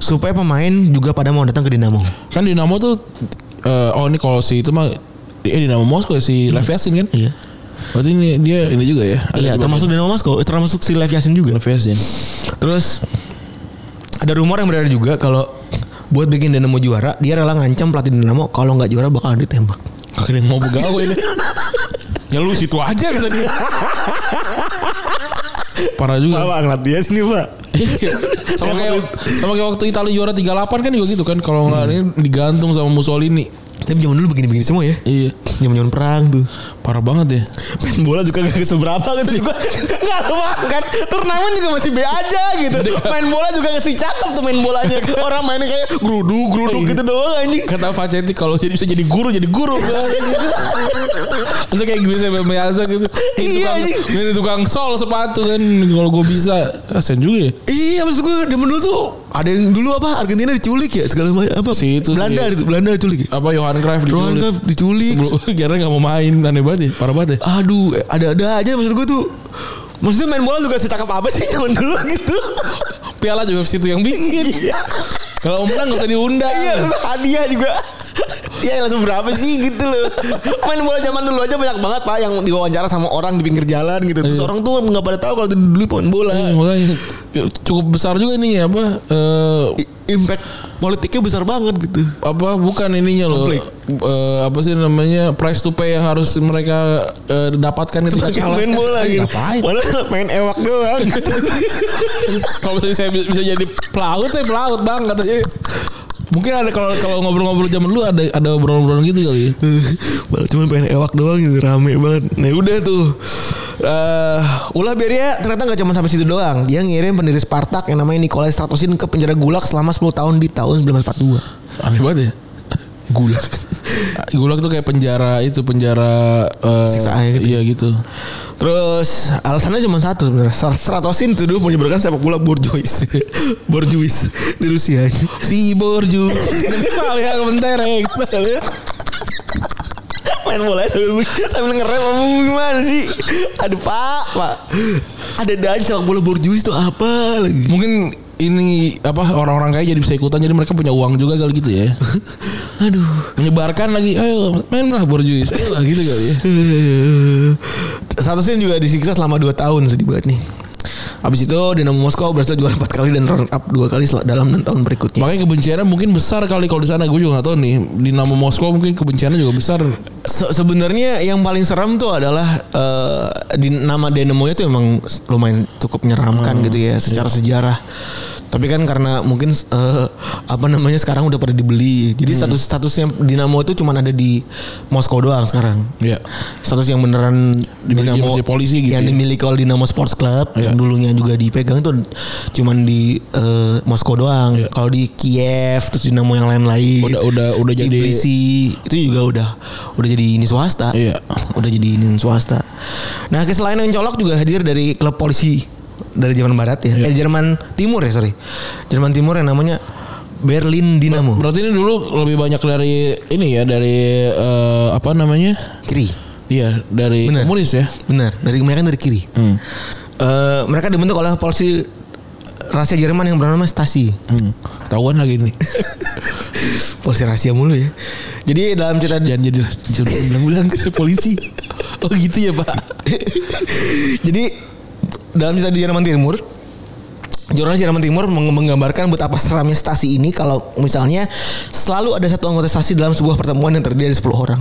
supaya pemain juga pada mau datang ke Dinamo.
Kan Dinamo tuh eh, oh ini kalau si itu mah eh Dinamo Moskow ya, si Lev Yashin kan?
Iya.
Berarti ini dia ini juga ya. ada
Iya,
di
termasuk Dinamo Moskow, termasuk si Lev Yashin juga.
bagian Lev Yashin.
Terus ada rumor yang beredar juga kalau buat bikin Dinamo juara, dia rela ngancam pelatih Dinamo kalau nggak juara bakalan ditembak.
Kakak yang mau begawe ini. ya lu situ aja kata dia. Parah juga.
ngeliat dia sini, Pak.
Iya. sama kayak sama kayak waktu Italia juara 38 kan juga gitu kan kalau nggak ini digantung sama Mussolini
Tapi zaman dulu begini-begini semua ya.
iya
Zaman-zaman perang tuh.
parah banget ya
main bola juga gak seberapa gitu juga nggak lumayan kan turnamen juga masih B aja gitu main bola juga ngasih cakep tuh main bolanya orang mainnya kayak gerudu gerudu gitu doang anjing
kata Facetti kalau jadi bisa jadi guru jadi guru itu kayak gue sampai biasa gitu ini
Iya,
tukang,
anjing.
ini tukang sol sepatu kan kalau gue bisa kasian juga ya
iya maksud gue zaman dulu tuh ada yang dulu apa Argentina diculik ya segala macam apa
Si itu,
Belanda
si-
itu Belanda diculik ya?
apa Johan Cruyff
Rohan
diculik.
kan diculik
Belum- Gerrard nggak mau main aneh banget ya parah banget ya
aduh ada-ada aja maksud gue tuh maksudnya main bola juga secakep apa sih zaman dulu gitu
piala juga situ yang bikin
iya
kalau mau menang nggak usah
Iya
diundang
terus hadiah juga Ya langsung berapa sih gitu loh Main bola zaman dulu aja banyak banget pak Yang diwawancara sama orang di pinggir jalan gitu Terus
Iya.
orang tuh nggak pada tahu kalau itu dulu pohon bola
Iya, makanya cukup besar juga ini ya apa eh,
I- Impact politiknya besar banget gitu
apa bukan ininya loh
Konflik.
Eh, apa sih namanya price to pay yang harus mereka eh, dapatkan ketika
Sebagai
kalah.
main bola
Eh,
gitu
ngapain?
Padahal main ewak doang gitu.
kalau misalnya saya bi- bisa jadi pelaut saya pelaut bang katanya mungkin ada kalau kalau ngobrol-ngobrol zaman dulu ada ada obrolan-obrolan gitu kali ya.
Padahal cuma pengen ewak doang gitu Rame banget Nah udah tuh eh ulah Beria ternyata nggak cuma sampai situ doang. Dia ngirim pendiri Spartak yang namanya Nikolai Stratosin ke penjara Gulag selama 10 tahun di tahun 1942.
aneh banget ya
Gulag.
gulag tuh kayak penjara itu penjara eh,
Siksaan gitu.
iya gitu
Terus alasannya cuma satu sebenarnya. Strat- Stratosin itu dulu menyebarkan sepak bola borjuis. borjuis di Rusia.
si borju ya kementereng
ya. Main bola ya sambil, sambil ngerem apa gimana sih? Aduh pak, pak. Ada aja sepak bola borjuis itu apa lagi?
mungkin ini apa orang-orang kaya jadi bisa ikutan jadi mereka punya uang juga kali gitu ya
Aduh.
menyebarkan lagi ayo main lah borjuis ayo lah gitu kali ya
Eh, Stratosin juga disiksa selama 2 tahun sedih banget nih. Abis itu Dinamo Moskow berhasil juara 4 kali dan runner up 2 kali sel- dalam 6 tahun berikutnya.
makanya kebenciannya mungkin besar kali kalau di sana gue juga gak tahu nih di nama Moskow mungkin kebenciannya juga besar
Se- sebenarnya yang paling serem tuh adalah eh, di nama Dynamo itu emang lumayan cukup menyeramkan gitu ya secara sejarah. Tapi kan karena mungkin eh, apa namanya sekarang udah pada dibeli. Jadi status-statusnya Dinamo itu cuma ada di Moskow doang sekarang.
Iya.
Status yang beneran
Dimiliki masih polisi gitu ya.
Yang dimiliki oleh Dinamo Sports Club
Iya.
yang dulunya juga dipegang itu cuman di eh, Moskow doang.
Iya.
Kalau di Kiev terus Dinamo yang lain-lain
Udah- udah- udah jadi-
Tbilisi, itu juga udah udah jadi ini swasta
Iya.
udah jadi ini swasta nah keselain yang colok juga hadir dari klub polisi dari Jerman Barat ya
Iya.
eh Jerman Timur ya sorry Jerman Timur yang namanya Berlin Dinamo
berarti ini dulu lebih banyak dari ini ya dari eh, apa namanya
kiri
iya dari
Bener.
komunis ya
benar dari mereka dari kiri
Hmm.
Eh, mereka dibentuk oleh polisi eh, rahasia Jerman yang bernama Stasi
hmm. tahuan lagi nih
polisi rahasia mulu ya jadi dalam cerita
jangan jadi jangan bilang-bilang ke polisi oh gitu ya pak
Jadi dalam cerita di Jerman Timur Jurnalis Jerman Timur meng- menggambarkan betapa seramnya stasi ini kalau misalnya selalu ada satu anggota stasi dalam sebuah pertemuan yang terdiri dari 10 orang.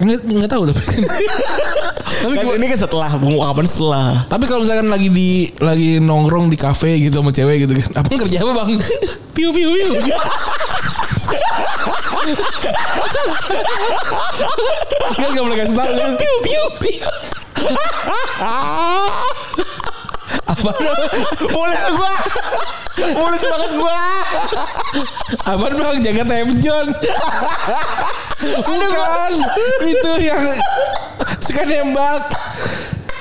Nggak, nggak tahu tapi. tapi
Kan
gua-
ini kan setelah pengungkapan setelah.
tapi kalau misalkan lagi di lagi nongkrong di kafe gitu sama cewek gitu kan. Abang kerja apa, Bang? Piu piu piu. kan enggak boleh kasih tahu kan. Piu piu piu. Apa
Mulus gua. Mulus banget gua.
Abang bang jaga temjon. Bukan itu yang suka nembak.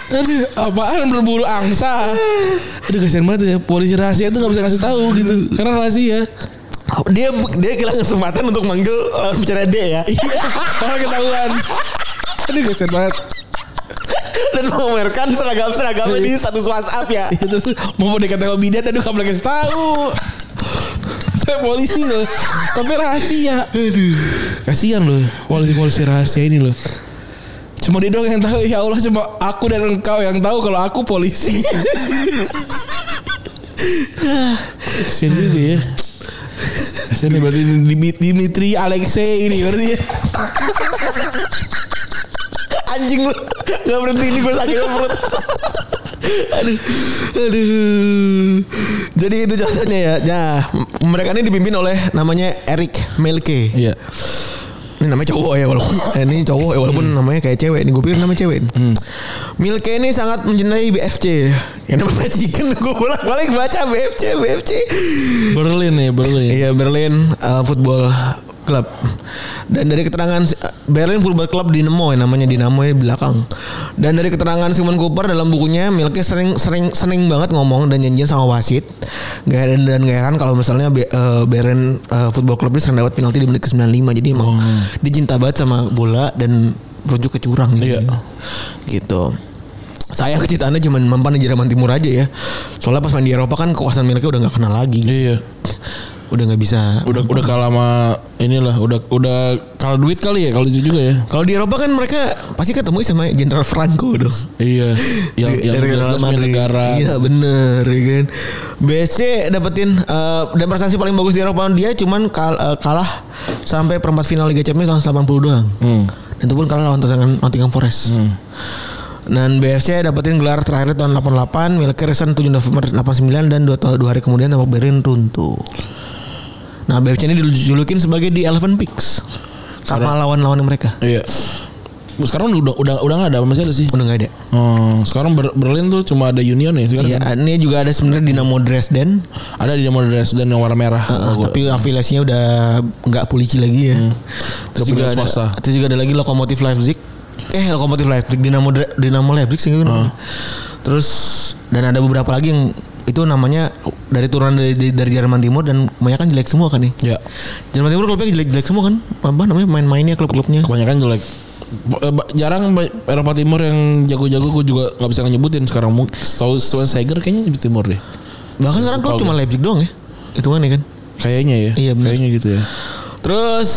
Aduh, apaan berburu angsa? Aduh kasihan banget ya polisi rahasia itu nggak bisa kasih tahu gitu karena rahasia.
Dia dia kehilangan kesempatan untuk manggil lawan bicara D ya.
Orang ketahuan. Aduh kasihan banget.
Dan memamerkan seragam-seragam di status WhatsApp ya.
Iya, Terus mau dikata kalau bidan aduh nggak boleh kasih tahu. Saya polisi loh, tapi rahasia. Aduh. Kasihan loh polisi-polisi rahasia ini loh. Cuma dia doang yang tahu. Ya Allah cuma aku dan engkau yang tahu kalau aku polisi. Kasihan juga ya. Kasihan nih, berarti Dimit- Dimitri Alexei ini berarti ya.
Anjing lu. Gak berhenti ini gua sakit perut. aduh. Aduh. Jadi itu contohnya ya. Nah, mereka ini dipimpin oleh namanya Eric Melke.
Iya.
Ini namanya cowok ya walaupun eh, ini cowok ya walaupun namanya kayak cewek. Ini gue pikir namanya cewek. Milke ini sangat mencintai BFC. Yang namanya Chicken gue bolak-balik baca BFC BFC.
Berlin ya Berlin.
Iya Berlin eh, Football Club. Dan dari keterangan si- eh, Berlin Football Club Dinamo ya namanya Dinamo ya di belakang. Dan dari keterangan Simon Cooper dalam bukunya Milke sering sering sering banget ngomong dan janjian sama wasit. Gak heran dan gak heran kalau misalnya Be- eh, Berlin eh, Football Club ini sering dapat penalti di menit ke-95. Jadi emang
Oh.
dia cinta banget sama bola dan merujuk ke curang gitu.
Iya.
Gitu saya kecintaannya cuma mempan di Jerman Timur aja ya. Soalnya pas main di Eropa kan kekuasaan miliknya udah nggak kenal lagi. gitu.
Iya.
Udah nggak bisa.
udah udah kalah sama inilah udah udah kalah duit kali ya kalau itu juga ya
Kalau di Eropa kan mereka pasti ketemu sama Jenderal Franco dong.
iya yang
Dari-
yang
dari
jelas
Real Madrid.
negara
Iya bener ya kan. BSC dapetin eh, dan prestasi paling bagus di Eropa dia cuman kal- eh, kalah sampai perempat final Liga Champions tahun 80 doang. Dan itu pun kalah lawan tantangan Nottingham Forest. Dan BFC dapetin gelar terakhir tahun 88, milik Resen 7 November 89 dan 2 tahun 2 hari kemudian tembok Berlin runtuh. Nah, BFC ini dijulukin sebagai The Eleven Picks. Sama lawan-lawan mereka.
iya sekarang udah udah udah nggak ada masih ada sih
Udah gak ada.
oh, sekarang Ber- Berlin tuh cuma ada Union ya sekarang
Iya, ini juga ada sebenarnya Dinamo Dresden.
ada di Demo Dresden yang warna merah
Heeh,
Logo.
Ah, tapi afiliasinya udah nggak polisi lagi ya.
Nggak
Terus juga
punya
ada,
swasta.
terus juga ada lagi lokomotif Leipzig. Eh lokomotif Leipzig, Dinamo Dre- Dinamo Leipzig sih gitu. Terus dan ada beberapa lagi yang itu namanya dari turunan dari, dari, dari Jerman Timur dan kebanyakan jelek semua kan nih.
ya
Jerman Timur klubnya jelek-jelek semua kan? Apa namanya main-mainnya klub-klubnya?
kebanyakan jelek Ba- eh, ba- jarang ba- Eropa Timur yang jago-jago gue juga nggak bisa nyebutin sekarang Mung- setahu Sven Seger kayaknya di Timur deh
Bahkan sekarang klub cuma Leipzig doang ya. Itu kan ya kan.
kayaknya ya
Iya, benar.
kayaknya gitu ya
Terus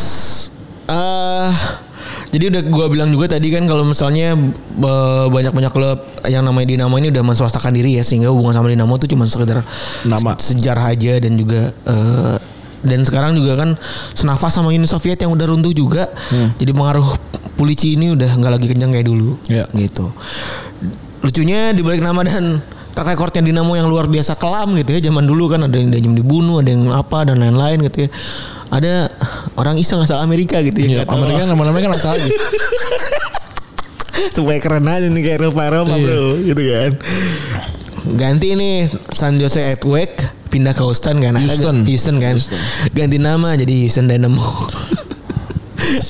eh jadi udah gua bilang juga tadi kan kalau misalnya eh, banyak-banyak klub yang namanya Dinamo ini udah menswastakan diri ya sehingga hubungan sama Dinamo itu cuma sekedar
Nama.
se- sejarah aja dan juga eh, dan sekarang juga kan senafas sama Uni Soviet yang udah runtuh juga.
Hmm.
Jadi pengaruh Pulici ini udah nggak lagi kencang kayak dulu
Iya.
gitu. Lucunya dibalik nama dan track recordnya Dinamo yang luar biasa kelam gitu ya. Zaman dulu kan ada yang ada yang dibunuh, ada yang apa dan lain-lain gitu ya. Ada orang iseng asal Amerika gitu
Iya,
ya. Nggak tahu
Amerika nama-namanya kan asal aja.
supaya keren aja nih kayak Eropa Eropa
Iya.
bro gitu kan ganti nih San Jose Earthquake pindah ke Houston kan Ada-
Houston.
Houston kan
Houston.
ganti nama jadi Houston Dynamo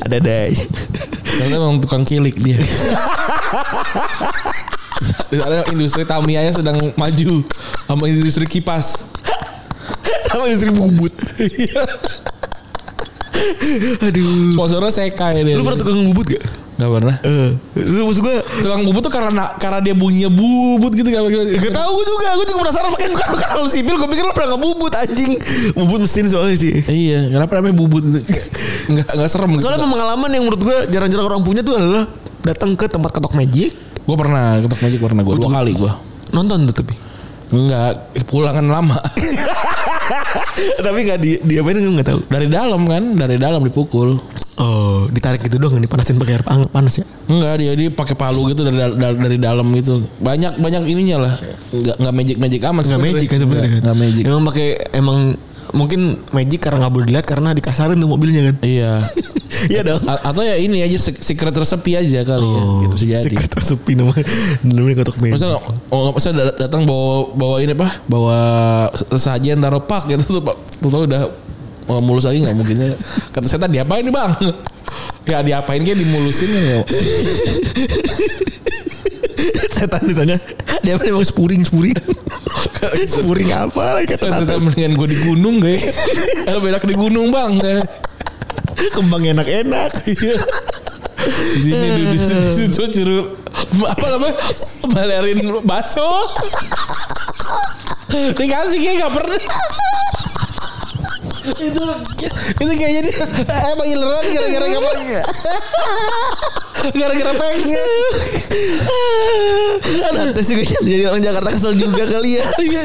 ada deh
Ternyata memang tukang kilik dia. Di sana industri Tamiya nya sedang maju sama industri kipas.
sama industri bubut aduh
Sponsornya Sekai dia.
lu pernah tukang bubut gak?
Gak pernah.
Eh, terus maksud gue
Tukang bubut tuh karena karena dia bunyinya bubut gitu gak,
Gak tau gue juga, gue juga penasaran makanya gue kan kalau sipil gue pikir lo pernah ngebubut anjing Bubut mesin soalnya sih
Iya, kenapa namanya bubut gitu? Enggak enggak serem gitu.
Soalnya pengalaman yang menurut gue jarang-jarang orang punya tuh adalah datang ke tempat ketok magic
Gue pernah ketok magic pernah gue dua kali gue.
nonton tuh tapi
Enggak, pulangan lama.
Tapi nggak di diapain nggak tahu.
Dari dalam kan, dari dalam dipukul.
Oh, ditarik gitu doang dipanasin pakai air pang- panas ya.
Enggak, dia dia pakai palu gitu dari dal- dal- dari dalam gitu. Banyak banyak ininya lah. Enggak enggak magic-magic amat
Nggak
sebenarnya.
magic kan sebenarnya kan.
Enggak magic.
Emang pakai emang mungkin magic karena nggak boleh dilihat karena dikasarin tuh mobilnya kan.
Iya.
Iya dong.
A- atau ya ini aja sek- secret tersepi aja kali ya. Gitu bisa jadi.
Oh, Secret tersepi nama namanya kotak magic.
Maksudnya, oh, maksudnya dat- datang bawa bawa ini apa? Bawa sesajen taruh pak gitu tuh pak. Tuh tau udah oh, mulus lagi nggak mungkin ya. Kata setan diapain nih bang? ya diapain kayak dimulusin ya.
Setan ditanya, dia apa emang spuring spuring. spuring apa lagi kata
Setan
atas.
mendingan gue di gunung deh. Eh berak di gunung bang.
Kembang enak-enak.
Di sini di di situ, di situ curu apa namanya balerin baso. Dikasih kayak nggak pernah. itu itu kayaknya dia eh beneran gara-gara nggak pernah gara-gara pengen
Nanti Kan sih kayaknya jadi orang Jakarta kesel juga kali ya.
Iya.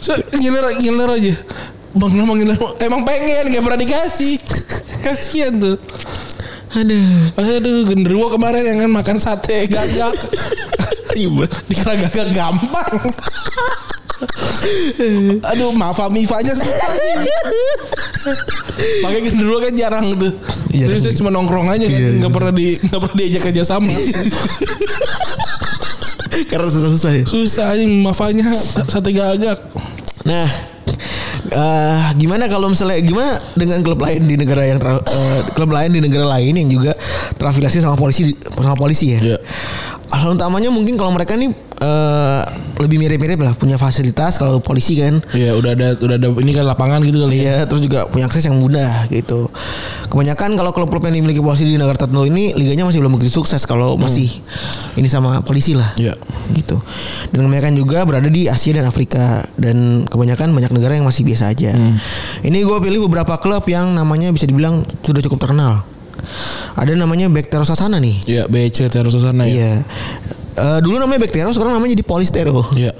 So, ngiler ngiler aja bang nama ngiler emang pengen nggak pernah dikasih kasian tuh
Aduh.
Aduh, genderuwo kemarin yang kan makan sate gagak. Ribet. Dikira gagak gampang. Aduh, maaf Mifa aja susah sih. Pakai genderuwo kan jarang tuh.
Iya,
Jadi saya
tapi-
cuma nongkrong aja kan,
Iya,
nggak
iya.
pernah di nggak pernah diajak kerja sama.
Karena susah-susah ya.
Susah aja mafanya sate gagak.
Nah, eh, gimana kalau misalnya gimana dengan klub lain di negara yang tra- eh, klub lain di negara lain yang juga terafiliasi sama polisi sama polisi ya?
Iya.
Hal utamanya mungkin kalau mereka nih eh, lebih mirip-mirip lah punya fasilitas kalau polisi kan.
Iya, udah ada udah ada ini kan lapangan gitu kali.
Iya, terus juga punya akses yang mudah gitu. Kebanyakan kalau klub-klub yang dimiliki polisi di negara tertentu ini liganya masih belum begitu sukses kalau masih ini sama polisi lah
Iya.
gitu. Dan kebanyakan juga berada di Asia dan Afrika dan kebanyakan banyak negara yang masih biasa aja. Ini gue pilih beberapa klub yang namanya bisa dibilang sudah cukup terkenal. Ada namanya Bektero Sasana nih.
Iya, BC terus sana ya.
Iya. Eh, dulu namanya Bektero, sekarang namanya jadi Polistero.
Iya.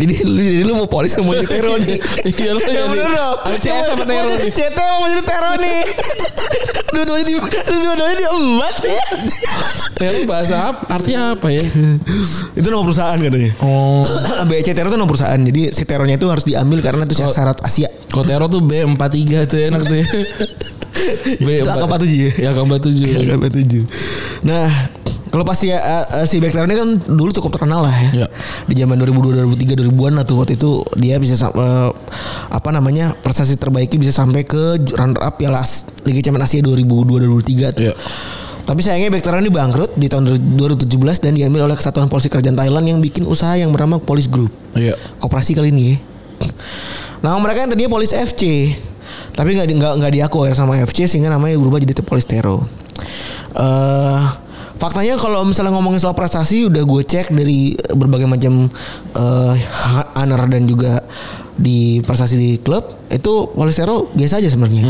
Jadi, lu- jadi lu mau polis mau jadi teror nih.
Iya, lu
Ya
jadi-
bener dong.
Ada CS sama
Mau-
teror
mau jadi
nih.
CT mau jadi teror nih. Dua-duanya di dua-duanya di empat ya.
Teror bahasa apa? Artinya apa ya?
Itu nama perusahaan katanya.
Oh,
BC teror E itu nama perusahaan. Jadi si terornya itu harus diambil karena itu
Oh.
syarat Asia.
Kotero tuh B43 tuh enak tuh ya.
Itu AK47 ya?
Ya AK47.
Kelapa tujuh. Nah, kalau pasti ya eh, eh, si Backtrail ini kan dulu cukup terkenal lah ya.
Iya.
Di zaman 2002 2003 2000-an lah tuh waktu itu dia bisa sam- eh, apa namanya? prestasi terbaiknya bisa sampai ke runner up Piala As- Liga Champions Asia 2002 2003 tuh.
Iya.
Tapi sayangnya Backtrail ini bangkrut di tahun 2017 dan diambil oleh Kesatuan Polisi Kerajaan Thailand yang bikin usaha yang bernama Police Group
Iya.
koperasi kali ini ya. Nah mereka yang tadinya polis FC tapi nggak di- nggak nggak diaku akhirnya sama FC sehingga namanya berubah jadi polis tero. Eh faktanya kalau misalnya ngomongin soal prestasi udah gue cek dari berbagai macam eh honor dan juga di prestasi di klub itu polis tero biasa aja sebenarnya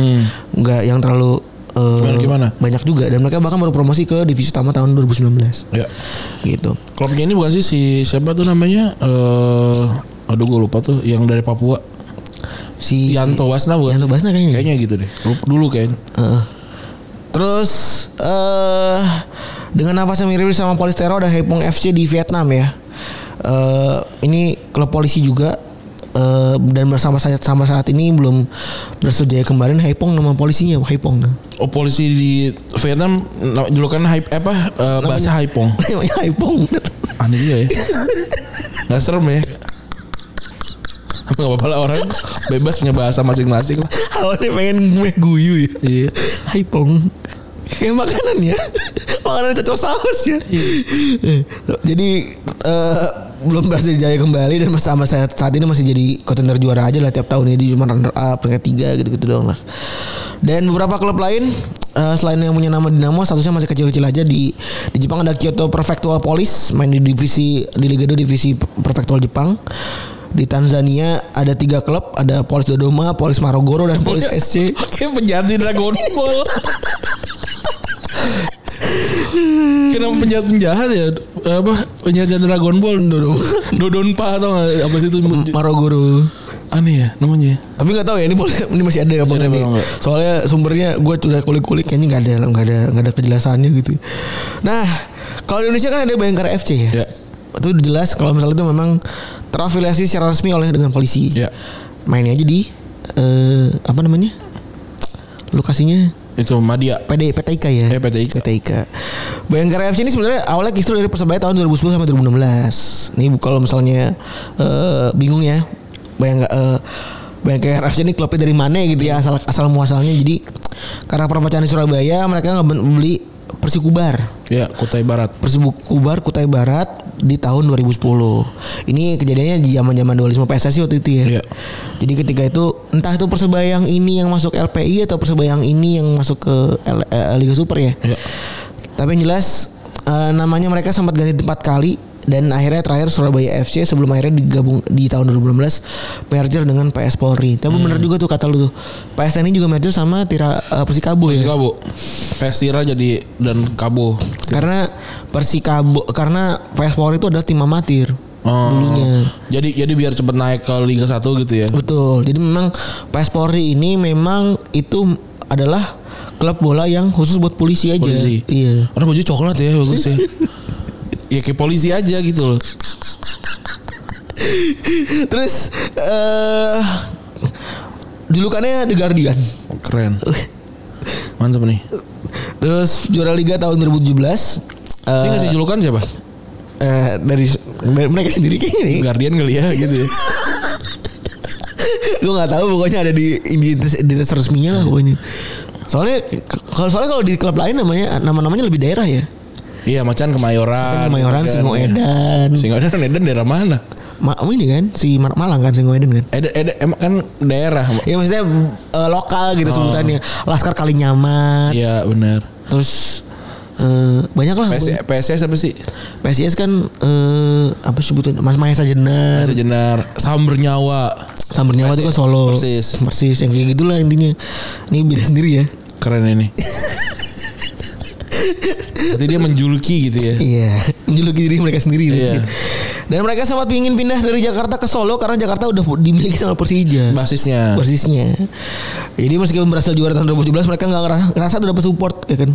nggak yang terlalu eh,
Hmm. Gimana, gimana?
banyak juga dan mereka bahkan baru promosi ke divisi utama tahun 2019
Iya.
gitu.
Klubnya ini bukan sih si siapa tuh namanya? Eh aduh gue lupa tuh yang dari Papua.
Si
Iya. Yanto Wasna bukan?
Yanto Basna kayaknya.
Kayaknya gitu deh. Lup- Dulu kayaknya.
Heeh. Eh. Terus eh dengan nafas yang mirip sama Polistero ada Haipong FC di Vietnam ya. Eh ini klub polisi juga Eh, dan bersama saat sama saat ini belum berhasil jaya kemarin Haipong nama polisinya Haipong.
Oh polisi di Vietnam na- julukan hype apa eh, bahasa Haipong.
Namanya Haipong.
Aneh juga ya. Gak serem ya. Gak apa-apa lah orang bebas punya bahasa masing-masing lah.
Awalnya pengen gue guyu ya.
Iya.
Haipong. Kayak makanan ya. Makanan cocok saus ya. jadi eh, belum berhasil jaya kembali dan sama saya saat ini masih jadi kontender juara aja lah tiap tahun ini cuma runner up peringkat tiga gitu-gitu doang lah. Dan beberapa klub lain eh, selain yang punya nama Dinamo statusnya masih kecil-kecil aja di di Jepang ada Kyoto Prefectural Police main di divisi di Liga 2 divisi Prefectural Jepang. Di Tanzania ada tiga klub, ada Polis Dodoma, Polis Marogoro dan Polis SC.
Kayak penjahat di Dragon Ball. Kenapa penjahat penjahat ya? eh, apa penjajahan Dragon Ball Dodon Dodonpa atau nggak? apa sih itu
Marogoro.
aneh ya namanya ya?
Tapi nggak tahu ya ini boleh ini masih ada apa
Masih ada
enggak nih.
apa enggak?
Soalnya sumbernya gue sudah kulik-kulik kayaknya nggak ada nggak ada nggak ada kejelasannya gitu. Nah kalau di Indonesia kan ada Bayangkara FC
Ya.
ya. Itu jelas kalau misalnya itu memang terafiliasi secara resmi oleh dengan polisi.
Ya.
Mainnya aja di eh, apa namanya? Lokasinya
itu Madia
PD PTIK ya.
Eh, PTIK.
PTIK. Bayangkara FC ini sebenarnya awalnya kisru dari Persebaya tahun 2010 sampai 2016. Ini kalau misalnya eh, bingung ya. Bayang eh, Bayangkara FC ini klubnya dari mana gitu ya asal asal muasalnya. Jadi karena perpecahan di Surabaya mereka ngeben- beli Persikubar.
ya Kutai Barat
Persikubar Kutai Barat di tahun 2010. Ini kejadiannya di zaman-zaman dualisme PSSI waktu itu ya.
Iya.
Jadi ketika itu entah itu persebaya yang ini yang masuk LPI atau persebaya yang ini yang masuk ke L- eh, Liga Super ya.
Iya.
Tapi yang jelas eh, namanya mereka sempat ganti tempat kali dan akhirnya terakhir Surabaya FC sebelum akhirnya digabung di tahun 2016 merger dengan PS Polri. Tapi
Hmm.
bener juga tuh kata lu tuh. PS TNI juga merger sama Tira eh, Persikabo ya.
Kabo Pestira jadi dan Kabo
Karena Persikabo karena PS Polri itu adalah tim amatir
Oh.
dulunya.
jadi jadi biar cepet naik ke Liga 1 gitu ya
Betul. Jadi memang PS Polri ini memang itu adalah klub bola yang khusus buat polisi aja.
Polisi.
Iya.
Orang baju coklat ya bagus ya. ya kayak polisi aja gitu loh.
Terus eh julukannya The Guardian.
Keren. Mantap nih.
Terus juara liga tahun 2017.
Ini
Eh
ngasih julukan siapa?
eh, dari, dari mereka sendiri kayaknya nih.
Guardian kali ya gitu ya.
gue nggak tahu pokoknya ada di di identitas resminya lah pokoknya soalnya k- kalau soalnya kalau di klub lain namanya nama namanya lebih daerah ya
Iya macan
kan
kemayoran.
Kemayoran
Macan, ya.
Singoedan
Singoedan Edan daerah mana?
Ma, oh ini kan si Mar- Malang kan Singoedan kan
Edan, Edan emang kan daerah.
ya maksudnya eh, lokal gitu sebutannya Laskar
Oh.
Kalinyamat
Iya benar.
terus eh, banyak lah
PS, PSS apa sih?
PSIS kan eh, apa sebutan Mas Mahesa Jenar
Sejenar Samber Nyawa.
Sambar Nyawa itu kan
PSIS.
Solo
Persis.
persis yang kayak gitulah intinya ini beda sendiri ya
Keren ini. Berarti dia menjuluki gitu ya.
Iya, menjuluki diri mereka sendiri.
Iya.
Dan mereka sempat ingin pindah dari Jakarta ke Solo karena Jakarta udah dimiliki sama Persija.
Basisnya.
Persisnya. Jadi meskipun berhasil juara tahun 2017 mereka nggak ngerasa, ngerasa udah dapat support ya kan.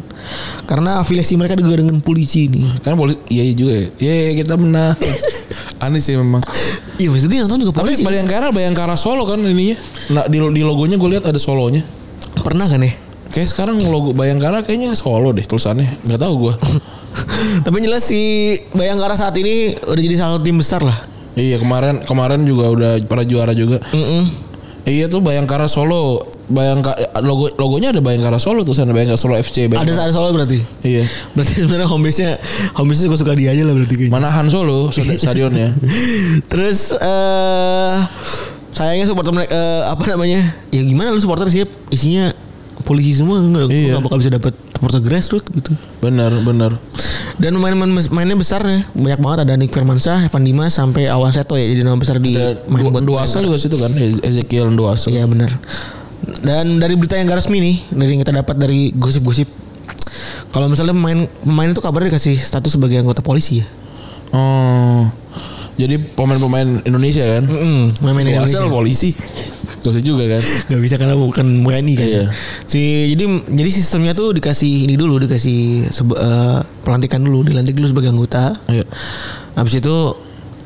Karena afiliasi mereka juga dengan polisi ini.
Kan polisi iya iya juga ya. Iya iya, kita menang. Aneh sih memang.
Iya maksudnya yang nonton juga
Tapi
polisi.
Bayangkara Bayangkara Solo kan ininya. Nah, di, di logonya gue lihat ada solonya.
Pernah kan ya?
Kayak sekarang logo Bayangkara kayaknya Solo deh tulisannya. Gak tahu gue.
Tapi yang jelas si Bayangkara saat ini udah jadi salah satu tim besar lah.
iya kemarin kemarin juga udah para juara juga.
Mm-mm.
Iya tuh Bayangkara Solo. Bayangkara logo logonya ada Bayangkara Solo tulisannya Bayangkara Solo FC. Bayangkara.
Ada ada Solo berarti.
Iya.
Berarti sebenarnya home base-nya home base-nya suka-suka dia aja lah berarti kayaknya.
Manahan Solo stad- stadionnya.
Terus eh sayangnya supporter mereka eh, apa namanya? Ya gimana lu supporter sih isinya polisi semua nggak lu
Iya.
nggak bakal bisa dapat supporter grassroots gitu.
Bener bener.
Dan pemain-pemain bes- mainnya besar ya, banyak banget ada Nick Firmansyah, Evan Dimas sampai Awan Seto ya jadi nama besar di
Dan
main
dua,
buat
dua asal juga situ kan Ez- Ezekiel dua asal.
Iya benar. Dan dari berita yang gak resmi nih, dari yang kita dapat dari gosip-gosip kalau misalnya pemain pemain itu kabarnya dikasih status sebagai anggota polisi ya.
Oh. Jadi pemain-pemain Indonesia kan.
Heeh, pemain
Dua
Hmm. Indonesia.
asal polisi. Gak usah juga kan.
Gak bisa karena bukan WNI kan.
Iya.
Si jadi jadi sistemnya tuh dikasih ini dulu dikasih sebe- eh, pelantikan dulu dilantik dulu sebagai anggota.
Iya.
Habis itu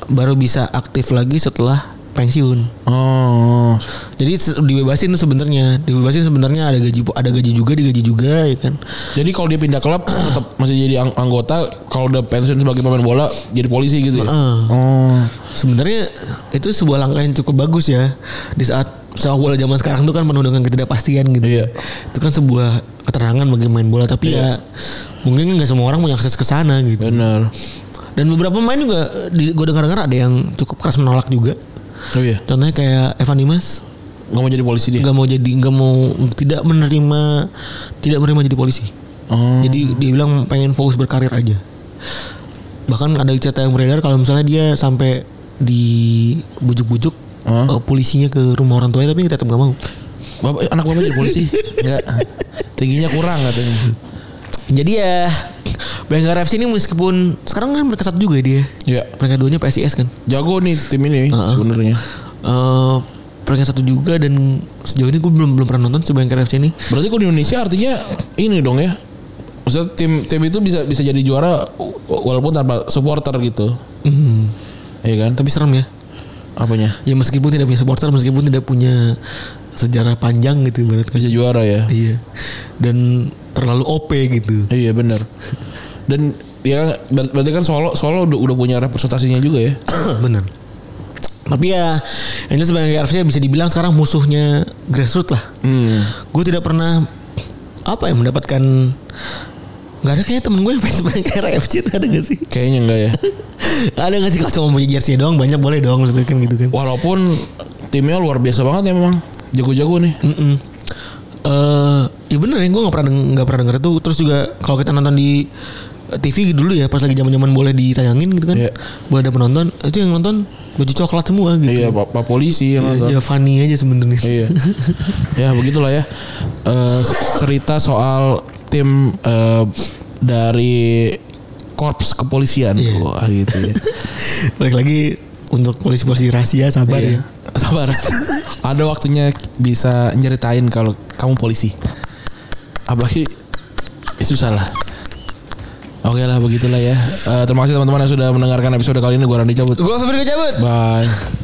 baru bisa aktif lagi setelah pensiun.
Oh,
Jadi se- dibebasin sebenarnya, dibebasin sebenarnya ada gaji ada gaji juga digaji juga ya kan.
jadi kalau dia pindah klub tetap masih jadi ang- anggota. Kalau udah pensiun sebagai pemain bola jadi polisi gitu ya.
Heeh.
Oh,
Sebenarnya itu sebuah langkah yang cukup bagus ya di saat sepak bola zaman sekarang tuh kan penuh dengan ketidakpastian gitu.
Iya.
Itu kan sebuah keterangan bagi main bola tapi ya mungkin nggak semua orang punya akses ke sana gitu.
benar.
Dan beberapa pemain juga gue dengar-dengar ada yang cukup keras menolak juga.
Oh iya,
Contohnya kayak Evan Dimas
nggak mau jadi polisi dia.
nggak mau jadi nggak mau tidak menerima tidak menerima jadi polisi.
Oh,
Jadi dia bilang pengen fokus berkarir aja. Bahkan ada cerita yang beredar kalau misalnya dia sampai dibujuk-bujuk
Hah?
eh, polisinya ke rumah orang tuanya tapi tetap nggak mau.
bapak anak bapak jadi polisi? Enggak. Tingginya kurang katanya.
Jadi ya Bayangkara FC ini meskipun sekarang kan mereka satu juga dia.
Iya.
Peringkat duanya PSIS kan.
Jago nih tim ini sebenarnya.
Eh peringkat satu juga dan sejauh ini gue belum belum pernah nonton si Bayangkara FC ini.
Berarti kalau di Indonesia artinya ini dong ya. Maksudnya tim tim itu bisa bisa jadi juara walaupun tanpa supporter gitu. Iya kan?
Hmm, Tapi serem ya.
Apanya?
Ya meskipun tidak punya supporter, meskipun tidak punya sejarah panjang gitu ibarat
Bisa juara ya.
Iya. Dan terlalu OP gitu.
Iya benar. Dan ya kan ber- berarti kan Solo Solo udah, udah punya representasinya juga ya.
Bener. Tapi ya yang jelas Bayangkara FC ya bisa dibilang sekarang musuhnya grassroots lah.
Hmm.
Gue tidak pernah apa ya mendapatkan nggak ada kayaknya temen gue yang fans Bayangkara FC itu ada gak sih?
Kayaknya enggak ya.
ada gak sih kalau cuma punya jersey doang banyak boleh dong maksudnya kan gitu kan.
Walaupun timnya luar biasa banget ya memang. Jago-jago nih.
Mm-mm. Eh, ya bener ya gue nggak pernah deng- nggak pernah denger itu terus juga kalau kita nonton di eh, TV dulu ya pas lagi zaman zaman boleh ditayangin gitu kan
Iya.
boleh ada penonton itu yang nonton baju coklat semua gitu
Iya, Pak, Pak Polisi yang nonton.
ya, ya funny aja sebenarnya
Iya. ya begitulah ya. Eh, cerita soal tim eh, dari korps kepolisian.
Iya.
Wah, gitu ya.
balik lagi untuk polisi polisi rahasia sabar
Iya.
ya
Sabar. Ada waktunya bisa nyeritain kalau kamu polisi. Apalagi eh, susah lah. Oke lah begitulah ya. Eh, terima kasih teman-teman yang sudah mendengarkan episode kali ini. Gua Randy cabut.
gue Febri cabut
Bye.